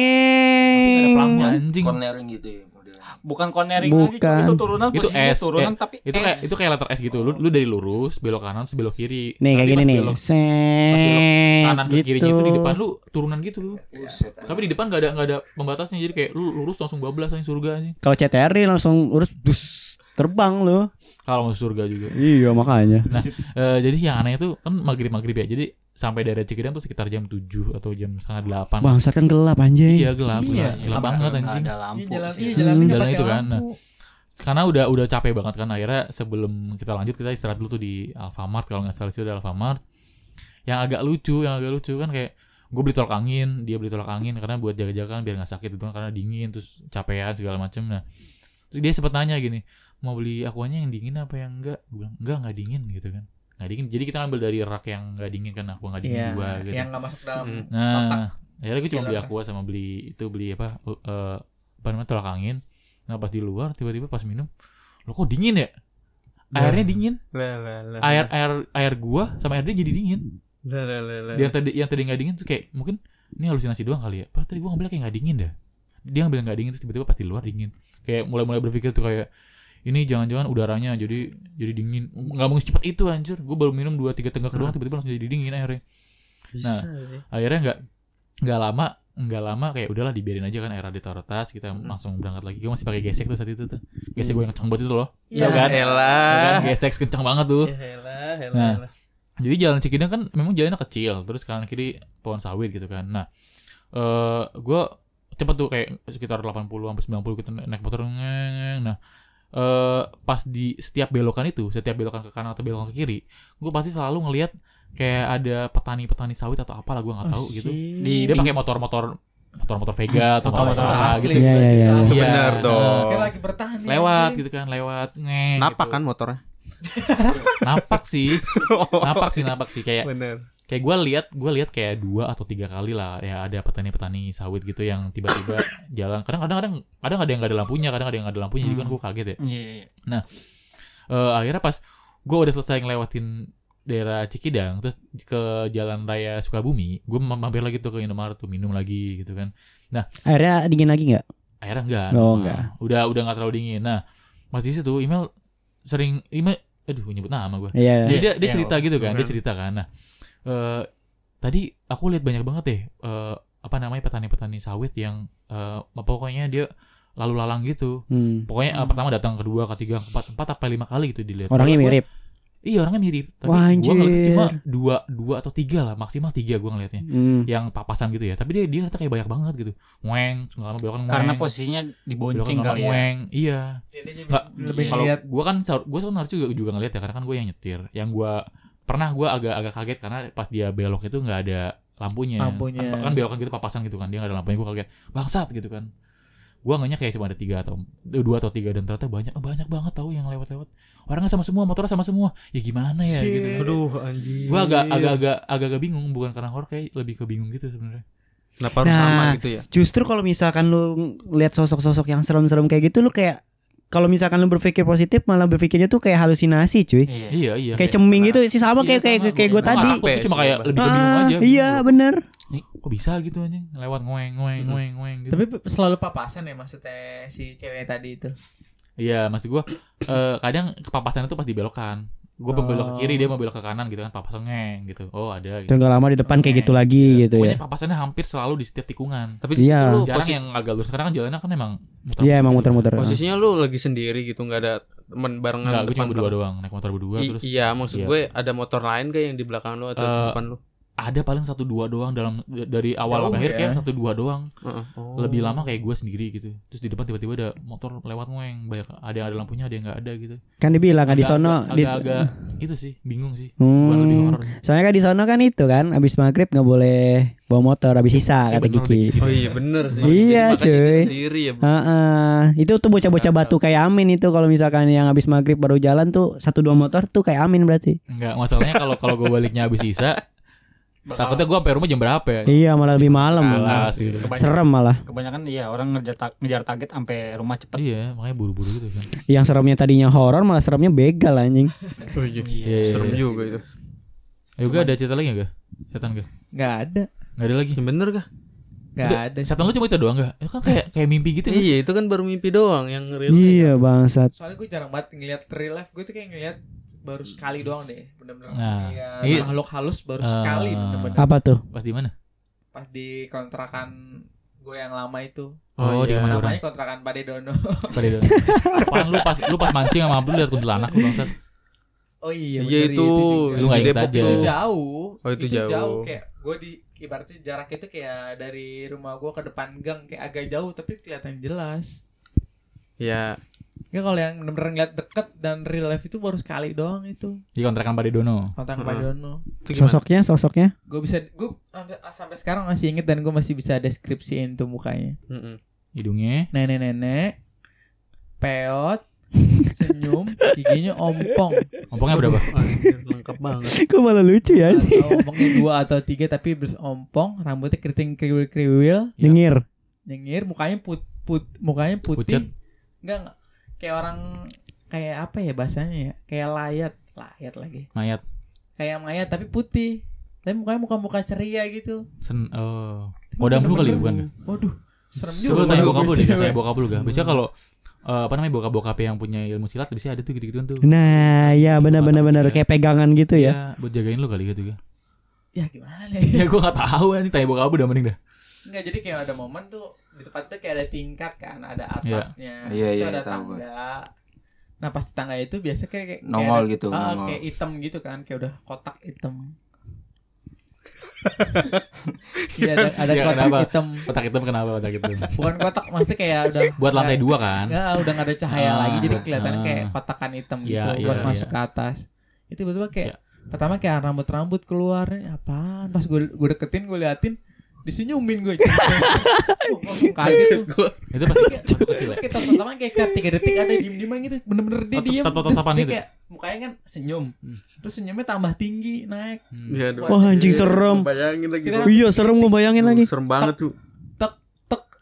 Pelangnya anjing.
Cornering gitu ya modelnya.
bukan cornering lagi
Bukan.
cuma itu turunan
Itu
posisinya
S,
turunan
eh,
tapi
itu kayak
S.
itu kayak letter S gitu lu lu dari lurus belok kanan terus belok kiri
Nih kayak
Tapi
gini
pas
nih.
belok
Set.
kanan ke kirinya itu di
gitu.
depan lu turunan gitu lu
Buset.
tapi di depan gak ada gak ada pembatasnya jadi kayak lu lurus langsung bablas anjing surga anjing
Kalau CTRD langsung urus dus terbang lu.
kalau masuk surga juga
Iya makanya.
Eh, jadi yang aneh itu kan maghrib maghrib ya jadi sampai daerah Cikidang tuh sekitar jam 7 atau jam setengah delapan
Bangsat kan gelap anjing.
iya gelap
Iya.
gelap, gelap banget
Nggak
anjing
ada lampu
jalan
sih.
iya jalan
Hmm.
Jalan itu kan, nah. karena udah udah capek banget kan akhirnya sebelum kita lanjut kita istirahat dulu tuh di Alfamart kalau nggak salah itu ada Alfamart yang agak lucu yang agak lucu kan kayak gue beli tolak angin dia beli tolak angin karena buat jaga-jaga kan biar nggak sakit itu kan karena dingin terus capean segala macem nah terus dia sempat nanya gini mau beli akuannya yang dingin apa yang enggak gue bilang enggak nggak dingin gitu kan nggak dingin jadi kita ambil dari rak yang nggak dingin kan aku nggak dingin
Iya,
dua gitu
yang nggak masuk dalam
Hmm.
kotak.
Nah, akhirnya gue cuma beli
Silakan.
aqua sama beli itu beli apa u- eh, apa namanya tolak angin. Nah pas di luar tiba-tiba pas minum, lo kok dingin ya? Airnya dingin,
Lah lah lah.
air air air gua sama air dia jadi dingin.
Lah lah lah. lah.
Yang tadi yang tadi nggak dingin tuh kayak mungkin ini halusinasi doang kali ya. Padahal tadi gua ngambil kayak nggak dingin dah. dia ngambil nggak dingin terus tiba-tiba pas di luar dingin kayak mulai-mulai berpikir tuh kayak ini jangan-jangan udaranya jadi jadi dingin nggak mungkin secepat itu anjir gue baru minum dua tiga tenggak ke doang tiba-tiba langsung jadi dingin akhirnya Nah,
Iya.
akhirnya nggak nggak lama nggak lama kayak udahlah dibiarin aja kan era di taruh tas kita langsung berangkat lagi gue masih pakai gesek tuh saat itu tuh gesek gue yang kencang banget itu loh
Ya,
Tau kan? Tau kan?
Elah.
gesek kencang banget
Iya.
tuh
helah, helah,
Nah.
helah.
jadi jalan Cikidang kan memang jalannya kecil terus kanan kiri pohon sawit gitu kan nah eh gue cepet tuh kayak sekitar 80 sampai 90 kita naik motor ngeng, ngeng. nah eh pas di setiap belokan itu setiap belokan ke kanan atau belokan ke kiri gue pasti selalu ngelihat kayak ada petani-petani sawit atau apalah gue nggak tahu gitu
di
dia pakai motor-motor motor-motor Vega atau
Motor-motor
motor-motor apa
asli.
gitu
Iya, iya, iya.
Iya.
Bener dong.
Kayak lagi bertahan ya,
lewat
anjing.
gitu kan lewat ngeng
Napak
gitu.
kan motornya?
napak sih napak sih napak sih kayak
Bener.
kayak gue lihat gue lihat kayak dua atau tiga kali lah ya ada petani-petani sawit gitu yang tiba-tiba jalan kadang-kadang kadang kadang ada yang gak ada lampunya kadang ada yang gak ada lampunya jadi kan
Hmm.
gue kaget ya
Iya, iya.
Eh, akhirnya pas gue udah selesai ngelewatin daerah Cikidang terus ke jalan raya Sukabumi gue mampir lagi tuh ke Indomaret tuh minum lagi gitu kan
Akhirnya dingin lagi nggak?
akhirnya enggak
Oh, enggak.
udah udah nggak terlalu dingin nah pas di situ email sering email aduh nyebut nama gue
Iya.
Jadi dia, dia
Iya,
cerita gitu kan,
kan.
dia cerita kan. Nah, eh, tadi aku lihat banyak banget deh eh, apa namanya petani-petani sawit yang eh, pokoknya dia lalu lalang gitu.
Hmm.
Pokoknya eh, pertama datang, kedua, ketiga, keempat, empat apa lima kali gitu dilihat.
Orangnya
Padahal gua-
mirip.
Iya orangnya mirip. Tapi
Wah,
gua ngeliat
anjir.
cuma dua, dua atau tiga lah maksimal tiga gua ngelihatnya.
Hmm.
Yang papasan gitu ya. Tapi dia dia ternyata kayak banyak banget gitu. Ngeng, nggak lama belokan
Karena
ngeng,
posisinya
belokan
dibonceng
lama
kali ya.
ngeng. Iya nggak
lebih
kalau
ngeliat.
gue kan gue tuh harus juga juga ngeliat ya karena kan gue yang nyetir yang gue pernah gue agak agak kaget karena pas dia belok itu nggak ada lampunya
Lampunya.
kan, kan belokan gitu papasan gitu kan dia nggak ada lampunya gue kaget bangsat gitu kan gue nggaknya kayak cuma ada tiga atau eh, dua atau tiga dan ternyata banyak oh, banyak banget tahu yang lewat-lewat orangnya sama semua motornya sama semua ya gimana ya gitu
Aduh anjir.
gue agak agak agak agak agak bingung bukan karena horor kayak lebih ke bingung gitu sebenarnya
Kenapa harus sama
Nah.
gitu ya?
Justru kalau misalkan lu lihat sosok-sosok yang serem-serem kayak gitu lu kayak kalau misalkan lu berpikir positif malah berpikirnya tuh kayak halusinasi, cuy.
Iya.
iya iya
Kayak ceming gitu sih sama
Iya,
kayak kayak
sama.
kayak gue
Emang
tadi.
aku tuh cuma kayak lebih ke bingung
Ah,
aja gitu.
iya bener.
Nih, kok bisa gitu anjing lewat ngoeng ngoeng
Mm-mm.
ngoeng ngoeng gitu
Tapi selalu papasan ya maksudnya si cewek tadi itu.
Iya, maksud gua eh, kadang kepapasan itu pas dibelokan. Gua belok ke kiri, dia mau belok ke kanan gitu kan, papasan ngeng gitu. Oh, ada gitu. Iya,
Tuh nggak lama di depan kayak gitu lagi gitu
Pokoknya
ya.
papasannya hampir selalu di setiap tikungan.
Tapi di
Iya.
situ lu
Jarang
posi-
yang agak lurus karena kan jalannya kan emang muter.
Iya emang muter-muter.
posisinya lu lagi sendiri gitu, nggak ada teman barengan
Enggak, gua cuma
depan
berdua
belakang.
doang, naik motor berdua
I-
terus.
iya, maksud
Iya.
gue ada motor lain gak yang di belakang lu atau di
Eh,
depan lu?
Ada paling satu dua doang dalam d- dari awal
Jauh
sampai akhir
ya.
kayak satu dua doang.
Heeh. Oh.
Lebih lama kayak gua sendiri gitu. Terus di depan tiba-tiba ada motor lewat ngoeng, banyak ada yang ada lampunya, ada yang nggak ada gitu.
Kan dibilang kan di
Agak-
sono
agak-
di
agak itu sih, bingung sih. Bukan lebih
Hmm.
horor. sih.
Soalnya kan di sono kan itu kan abis maghrib nggak boleh bawa motor abis
Iya,
sisa kata
bener,
Kiki.
Oh iya bener sih.
Iya,
Jadi makanya dia
cuy.
Sendiri ya.
Heeh, itu tuh bocah-bocah batu kayak Amin itu kalau misalkan yang habis maghrib baru jalan tuh satu dua motor tuh kayak Amin berarti.
Enggak, masalahnya kalau kalau gua baliknya habis sisa,
Iya.
takutnya gua sampai rumah jam berapa ya?
Iya malah lebih malam
Ah,
malah.
sih, udah.
Kebanyakan,
Serem malah.
kebanyakan iya orang ngejar, ta- ngejar target sampai rumah cepet.
Iya, makanya buru-buru gitu kan.
Yang seremnya tadinya horor malah seremnya begal anjing.
Oh iya.
Iya, iya,
Serem
iya.
juga itu.
Ayo gak ada cerita lagi gak? Setan gak?
Enggak ada.
Gak ada lagi.
Ya bener kah?
Enggak
Udah,
ada.
Setan lu cuma itu doang gak? Itu kan kayak kayak mimpi gitu kan?
Iya, itu kan baru mimpi doang yang real.
Iya bangsat.
Soalnya gue jarang banget ngeliat real life Gue tuh kayak ngeliat baru sekali doang deh Bener-bener
Nah,
langsung ngeliat
iya.
makhluk halus baru
Ah.
sekali bener-bener
Apa tuh?
Pas di mana?
Pas di kontrakan gue yang lama itu
iya.
Oh, di kamar orang.
Namanya kontrakan Pade Dono
Pada itu. Apaan lu pas lu pas mancing sama Abdul lihat kuntilanak lu bangsat.
Oh iya
Iya
bener,
itu.
juga.
Lu nggak
Di
inget
Depok
aja.
tuh.
Itu jauh
Oh, itu jauh.
Kayak gue di Ibaratnya jarak itu kayak dari rumah gue ke depan gang Kayak agak jauh tapi kelihatan jelas
Ya,
Ya kalau yang bener-bener ngeliat deket dan real life itu baru sekali doang itu
Di kontrakan Pada Dono.
Kontrakan
Hmm.
Pade Dono
itu gimana?
Sosoknya sosoknya.
gue bisa gue sampai, sampai sekarang masih inget dan gue masih bisa deskripsiin tuh mukanya
Mm-mm.
Hidungnya.
nenek nenek peot senyum giginya ompong
Ompongnya berapa?
Anjir, lengkap banget.
Kok malah lucu ya? anjing?
atau ompongnya dua atau tiga tapi bersompong rambutnya keriting kriwil kriwil
Iya.
Dengir.
nyengir mukanya put put mukanya
Pucet.
putih enggak enggak kayak orang kayak apa ya bahasanya ya kayak layat layat lagi
Mayat.
kayak mayat tapi putih tapi mukanya muka-muka ceria gitu
Sen oh. Kodam lu kali bukan?
Waduh, Serem
Coba
juga.
tanya
kalau gitu.
bokap lu
gue
deh,
cewek.
tanya bokap lu gak? Biasanya kalau eh, apa namanya bokap-bokap yang punya ilmu silat biasanya ada tuh gitu-gituan tuh.
Nah, ya
Gitu,
benar-benar
mantap
benar
juga.
kayak pegangan gitu ya.
Iya, buat jagain lu kali gitu ya.
Ya gimana ya?
Ya gua gak tahu anjing tanya bokap lu udah mending dah.
Enggak jadi kayak ada momen tuh di tempat itu kayak ada tingkat kan, ada
Iya.
atasnya,
Iya,
itu
iya,
ada
tahu gue.
tangga. Nah pas di tangga itu biasa kayak kayak
Nongol
kayak ada-
gitu,
ah,
nongol.
kayak hitam gitu kan, kayak udah kotak hitam. Iya ada, ada
Iya,
kotak
kenapa?
hitam.
Otak hitam kenapa otak hitam?
Bukan kotak, maksudnya kayak udah
Buat lantai
kayak-
dua kan?
Ya udah gak ada cahaya
Ah,
lagi jadi kelihatannya
ah.
kayak kotakan hitam
Iya,
gitu
iya,
buat
iya.
masuk ke atas. Itu tiba-tiba kayak
Iya.
pertama kayak rambut-rambut keluar nih, apaan? Pas gue gue deketin gue liatin disenyumin gue. Kaget tuh.
Itu pasti kayak waktu kecil ya.
Kayak teman-teman kayak tiap tiga detik ada diem-dieman gitu Bener-bener dia
Oh,
diem
tatap-tatapan
Terus dia
gitu?
kayak Mukanya kan senyum
Hmm.
Terus senyumnya tambah tinggi Naik
Hmm.
Iya, aduh.
Wah, anjing serem.
Bayangin lagi.
Kita-
Bang.
Iya, serem ngebayangin lagi.
Serem banget tuh.
Tek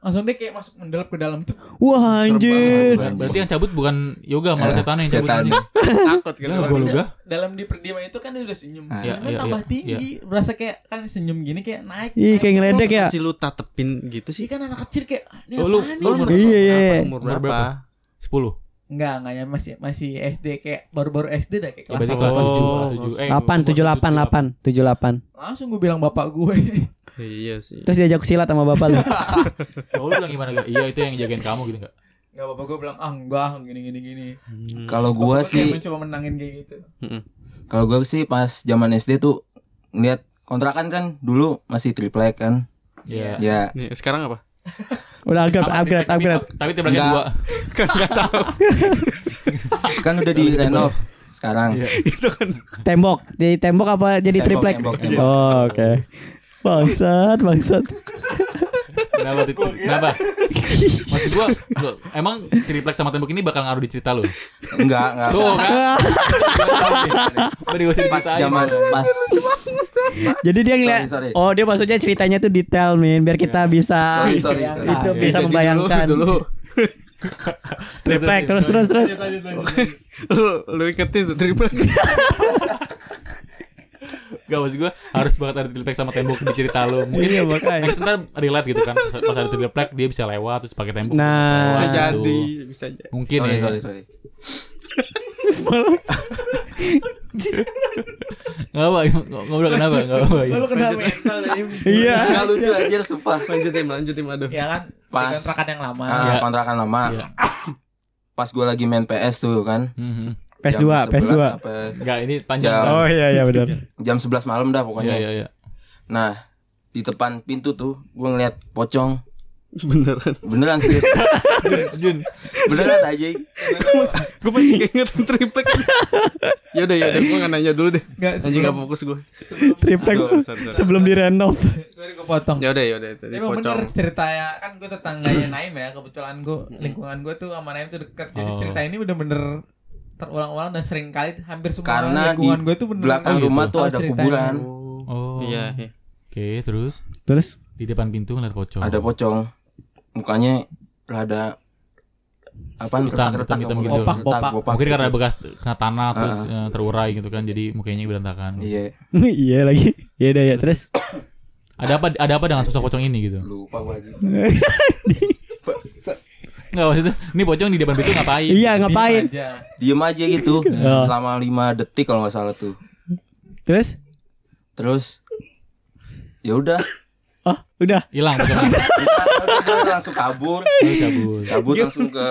Langsung dia kayak masuk mendalam ke dalam tuh
Wah, anjir.
Ber- Berarti yang cabut bukan yoga malah
Eh,
setan yang cabut.
setan.
anjing.
Takut kan.
Ya gua lu gak?
Dalam di perdiaman itu kan dia udah senyum
Iya,
Ah.
Senyumnya
iya,
tambah
iya,
tinggi Berasa kayak kan senyum gini kayak naik
Ih, kayak ngeledek ya.
Si lu tatepin gitu sih.
Sih kan anak kecil kayak ah, Ini
Oh, lu-
apaan
Lu
nih
umur
Iya, iya, iya.
Umur
Umur
berapa?
10.
Enggak enggak ya masih, masih SD kayak Baru-baru SD dah kayak
Ya,
kelas
berarti
satu.
kelas
satu.
7, kelas
Oh,
7. Eh,
8
kelas
78 8 78.
Langsung gue bilang bapak gue
Iya sih.
Terus diajak silat sama bapak lu.
Oh, lu bilang gimana gak? Iya, itu yang jagain kamu gitu gak?
Enggak bapak gue bilang Ah enggak gini gini gini
Hmm.
Kalau gua
Bapak kayak
sih,
mencoba menangin kayak gitu
kalau gua sih pas zaman SD tuh ngeliat kontrakan kan dulu masih triplek kan.
Iya.
Ya,
Nih, sekarang apa?
Udah upgrade
Sama
Iya.
triplek
upgrade upgrade.
Tapi, tapi tripleknya
Enggak.
dua.
kan udah di renov sekarang.
Iya.
Itu kan
Tembok. Jadi tembok apa jadi
Tembok,
triplek?
tembok, tembok.
Oh, oke. Bangsat, bangsat.
Kenapa? Tit? Kenapa? Maksud gua, gua, emang triplek sama tembok ini bakal ngaruh di cerita lu.
Enggak, enggak.
Tuh kan.
Ah.
Udah gak usah
Pas
diceritain.
zaman pas
Jadi dia ngeliat
Sorry, sorry.
Oh, dia maksudnya ceritanya tuh detail, Min, biar kita bisa
Ah, sorry sorry. sorry.
itu
Ah, Iya,
bisa
jadi
membayangkan.
dulu, dulu.
Triplek terus terus terus.
lu lu iketin tuh triple.
Gak maksud gue harus banget ada triplek sama tembok di cerita lu. Mungkin
Iya, makanya.
next ntar relate gitu kan. Pas ada triplek dia bisa lewat terus pakai tembok. bisa
Nah.
Bisa
lewat
jadi,
gitu.
bisa jadi.
Mungkin
Sorry,
ya.
sorry, sorry.
Gak apa, ngobrol kenapa? Gak apa. iya.
Lalu kena mental ya, Im.
Ah,
Iya.
Enggak lucu aja sumpah.
Lanjut tim, lanjut tim aduh.
Ya kan
Pas.
Pas kontrakan yang lama
Ah,
Iya.
kontrakan lama.
Iya.
Pas gua lagi main PS tuh kan.
Mhm.
PS2,
jam 11
PS2.
sampai
Enggak, ini panjang.
Jam.
Bang.
Oh iya iya benar.
Jam 11 malam dah
Iya,
pokoknya.
iya, iya.
Nah, di depan pintu tuh gua ngeliat pocong.
Beneran.
Beneran serius.
Jun,
Beneran aja.
Gue masih keinget triplek. ya udah ya udah gua nggak nanya dulu deh.
Enggak
Anjing
sebelum
nggak fokus gue.
Triplek
Sorry,
sebelum direnov.
Sorry gue potong
Ya udah ya udah tadi
Emang
pocong.
bener ceritanya Kan gue tetangganya Naim ya Kebetulan gue Lingkungan gue tuh sama Naim tuh deket Jadi
Oh.
cerita ini bener-bener Terulang-ulang dan sering kali Hampir semua
Karena
lingkungan
di
gue tuh bener
Belakang
Oh, gitu.
rumah tuh
Oh,
ada
ceritanya.
kuburan,
Oh.
Iya, iya.
Oke, terus
Terus
di depan pintu ngeliat pocong.
ada pocong. Mukanya rada apa retak-retak
hitam-hitam gitu.
Bopak,
Opak,
bopak,
opak.
bopak
Mungkin karena
gitu.
bekas kena tanah terus
Ah.
eh, terurai gitu kan, jadi mukanya berantakan.
Iya,
iya lagi. Iya dah ya. Terus
Ada apa? Ada apa dengan sosok pocong ini gitu?
lupa gua aja.
Enggak maksudnya, ini pocong di depan pintu ngapain?
iya ngapain?
aja
Diem aja gitu
Iya.
Oh.
selama 5 detik kalau nggak salah tuh.
Terus
Terus ya udah,
oh udah
Hilang pocong.
Udah, udah, gua langsung kabur,
Lalu cabut. Iya.
kabur langsung ke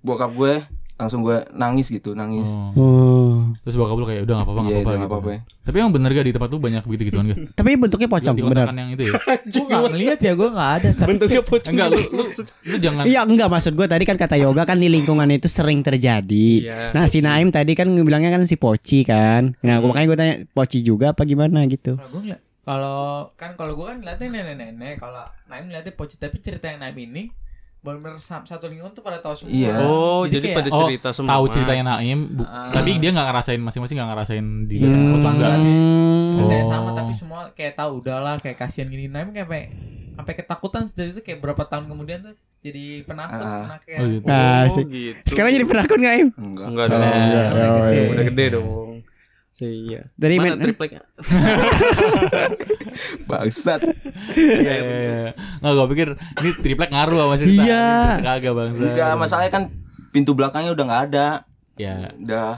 bokap gue, langsung gue nangis gitu, nangis.
Oh.
oh.
Terus bokap lu kayak udah enggak apa-apa,
Iya,
enggak
udah
apa-apa.
nggak apa-apa.
gitu. Tapi emang bener gak di tempat lu banyak begitu gituan gak?
tapi bentuknya pocong
di
benar
kontrakan yang itu ya? Eh,
Gue gak ngeliat ya Gue gak ada Tapi
Bentuknya pocong.
Enggak, lu lu, lu jangan
Iya enggak maksud gue tadi kan kata yoga kan di lingkungan itu sering terjadi.
Iya. Hmm.
Nah si Naim tadi kan bilangnya kan si Poci kan. Nah gua- makanya gue tanya Poci juga apa gimana gitu.
Kalau gue ngeliat Kalau Kan kalau gue kan ngeliatnya nenek-nenek Kalau Naim ngeliatnya pocit Tapi cerita yang Naim ini Bener-bener sa- satu lingkungan tuh pada tahu semua
Iya.
Oh,
Jadi
jadi,
kayak-
pada
Oh,
cerita semua.
tahu ceritanya Naim, bu-
Ah.
tapi dia nggak ngerasain masing-masing nggak ngerasain di
Iya,
oh,
depan pocong
bangga.
enggak.
Hmm.
Ada yang
Oh.
sama tapi semua kayak tahu udahlah kayak kasihan gini Naim kayak sampai sampai ketakutan sejak itu kayak berapa tahun kemudian tuh jadi penakut
Ah.
anaknya.
Oh gitu.
Nah,
Oh,
sih.
gitu.
Sekarang jadi penakut nggak Im?
Enggak.
enggak dong.
Oh, iya,
Udah
iya,
gede,
iya.
Udah gede dong. Iya.
Dari
Mana
men-
tripleknya?
Bangsat.
Iya, iya, iya. Nggak, gue pikir ini triplek ngaruh sama cerita.
Iya.
Kagak bangsa.
Enggak, masalahnya kan pintu belakangnya udah nggak ada.
Iya. Ya.
Udah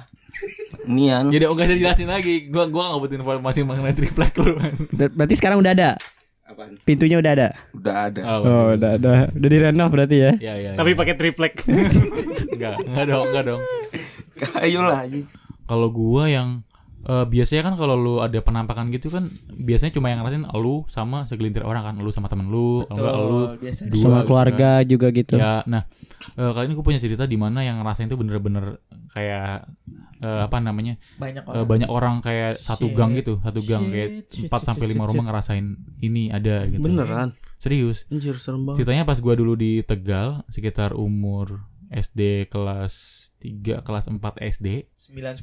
nian.
Jadi enggak usah jelasin lagi. Gua gua nggak butuh informasi mengenai triplek lu.
Ber- berarti sekarang udah ada.
Apaan?
Pintunya udah ada.
Udah ada.
iya.
Oh, udah ada. Udah direnov berarti ya.
Iya, iya.
Tapi pakai triplek.
enggak, enggak dong, enggak dong.
Ayolah anjing.
Kalau gua yang eh, biasanya kan kalau lu ada penampakan gitu kan biasanya cuma yang ngerasain lu sama segelintir orang kan, lu sama temen lu, kalau enggak lu
biasa
dua
Sama
gitu kan.
keluarga juga gitu.
Iya,
Ya, nah, eh, kali ini gue punya cerita di mana yang ngerasain itu bener-bener kayak eh, apa namanya
banyak
eh, banyak orang kayak satu
Shit.
gang gitu, satu gang kayak
Shit, shit,
4 sampai
shit,
lima
shit,
rumah ngerasain ini ada gitu.
Beneran.
Serius.
Anjir serem banget.
Ceritanya pas gua dulu di Tegal sekitar umur SD kelas 3 kelas 4 SD.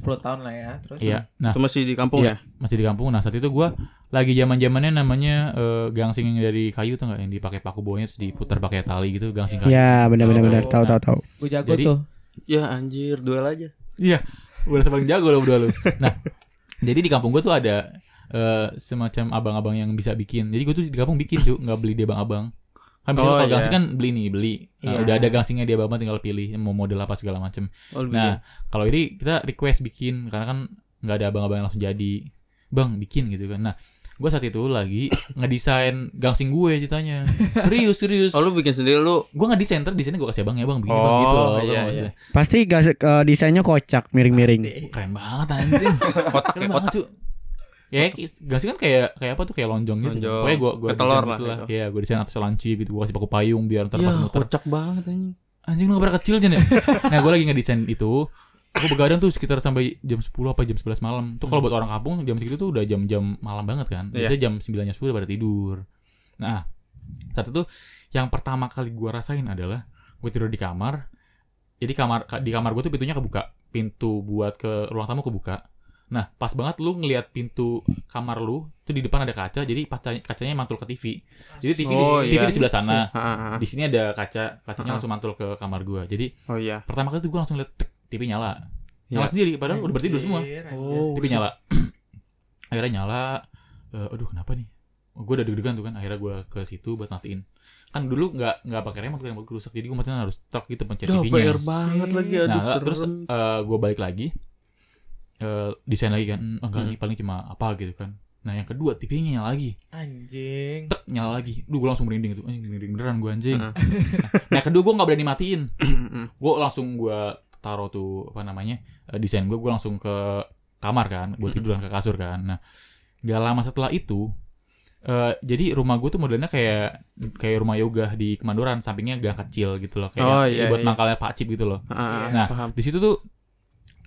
9 10 tahun lah ya. Terus
Iya. Nah,
Itu masih di kampung
Iya. masih di kampung. Nah, saat itu gua lagi zaman-zamannya namanya eh, gangsing yang dari kayu tuh enggak yang dipakai paku bonya terus diputar pakai tali gitu, gangsing kayu.
Ya, benar-benar benar. Tahu tahu tahu.
gue jago
Jadi-
tuh.
ya? Ya anjir, duel aja.
udah paling jago lo berdua lo. Nah, jadi di kampung gue tuh ada eh, semacam abang-abang yang bisa bikin. Jadi gue tuh di kampung bikin cuy, nggak beli di abang-abang. Kan biasanya
Oh,
kalau
iya.
gangsing kan beli nih, beli. Nah,
Iya.
udah ada gangsingnya di abang-abang tinggal pilih mau model apa segala macem.
Oh, lebih
Nah, kalau ini kita request bikin karena kan nggak ada abang-abang yang langsung jadi, bang bikin gitu kan. Nah, gue saat itu lagi ngedesain gangsing gue ceritanya. Serius serius.
dia. oh lu bikin sendiri lu.
Gue ngedesain terus desainnya gue kasih abang ya bang bikin bang
Oh,
gitu loh.
iya,
Bang.
iya.
Pasti gas- eh, desainnya kocak, miring-miring.
Keren banget anjing.
Kotak ya,
Keren banget
kotak.
cuy. Ya, ki- gak sih kan kayak kayak apa tuh kayak lonjong gitu.
Lonjong.
Pokoknya gua gua
Kayak telur
desain
lah,
gitu lah.
gitu.
Iya, gua desain atas lancip gitu, gua kasih paku payung biar ntar
Ya,
pas muter.
kocak banget anjing.
Anjing lu gak pernah kecil Jen ya? nah, gua lagi ngedesain itu. Aku begadang tuh sekitar sampai jam 10 apa jam 11 malam. Tuh
Hmm.
kalau buat orang kampung jam segitu tuh udah jam-jam malam banget kan.
Iya.
Biasanya jam 9 jam 10 udah pada tidur. Nah, saat itu yang pertama kali gua rasain adalah gue tidur di kamar. Jadi kamar ka- di kamar gue tuh pintunya kebuka, pintu buat ke ruang tamu kebuka. Nah, pas banget lu ngelihat pintu kamar lu tuh di depan ada kaca, jadi kaca- kacanya mantul ke TV. Jadi TV di,
Oh,
TV
iya.
di sebelah sana.
Ah, ah, ah.
Di sini ada kaca,
Ah.
kacanya langsung mantul ke kamar gua. Jadi
Oh iya.
pertama kali tuh gua langsung lihat "Tek," TV nyala. Nyala
Iya.
sendiri padahal udah bertidur semua.
Oh,
TV nyala. akhirnya nyala. Eh, aduh kenapa nih? Gue udah deg-degan tuh kan. Akhirnya gue ke situ buat matiin. Kan dulu nggak nggak pakai remote, remote gue rusak. Jadi gue matiin harus truk gitu pencet
Dah
TV-nya.
PR banget lagi aduh
Nah, nggak,
serem.
terus gue balik lagi. Eh, desain lagi kan. Hmm, enggak
Hmm.
ini paling cuma apa gitu kan. Nah, yang kedua TV-nya nyala lagi.
anjing.
Tek nyala lagi. Duh, gue langsung merinding itu. Anjing merinding beneran gue anjing.
Heeh.
nah, yang kedua gue nggak berani matiin. gue langsung gue taruh tuh apa namanya eh, desain gue gue langsung ke kamar kan gue tiduran ke kasur kan nah gak lama setelah itu eh jadi rumah gue tuh modelnya kayak kayak rumah yoga di Kemandoran sampingnya gang kecil gitu loh kayak
Oh, iya,
buat
iya.
mangkalnya Pak Cip gitu loh
Ah, ah, ah,
Nah.
paham.
di situ tuh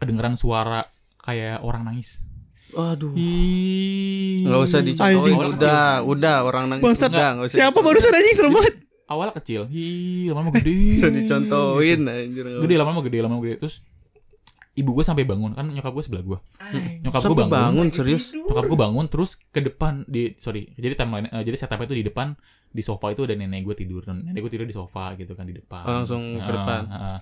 kedengeran suara kayak orang nangis
Aduh.
Iya. Ih.
Enggak usah
Anjing.
dicontohin. Udah, udah orang nangis
Bangsat.
udah enggak usah.
Siapa
dicontohin.
barusan anjing serem
Iya.
banget?
awalnya kecil hi lama-lama gede Gitu.
Bisa dicontohin anjir. nggak
gede Iya, lama-lama gede lama-lama gede terus ibu gue sampai bangun kan nyokap gue sebelah gue nyokap
Sampai
gue bangun
bangun serius.
Nyokap gue bangun terus ke depan di sorry jadi timeline eh, jadi setupnya itu di depan di sofa itu ada nenek gue tidur Dan nenek gue tidur di sofa gitu kan di depan
Oh, langsung ke
Ah,
depan.
ah.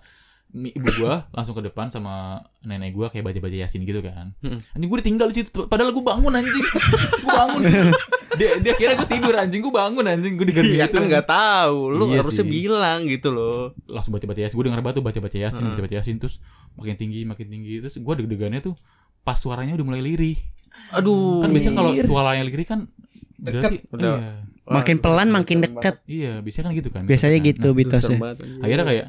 Mi- ibu gue langsung ke depan sama nenek gue kayak baca-baca yasin gitu kan
Mm-mm.
anjing gue ditinggal di situ padahal gue bangun anjing gue bangun dia dia kira gue tidur anjing gue bangun anjing gue digerbi
Iya
gitu
kan nggak tahu, lu
Iya
harusnya
sih.
bilang gitu loh.
langsung baca baca yasin gue denger batu baca baca yasin
Heeh.
baca baca yasin terus makin tinggi makin tinggi terus gue deg-degannya tuh pas suaranya udah mulai lirih
Aduh,
kan biasanya kalau suaranya lirih kan berarti
Udah.
iya.
Makin pelan makin dekat.
Iya, biasanya kan gitu kan.
Biasanya
Nah,
gitu
Serem
mitosnya.
banget. anjir.
akhirnya kayak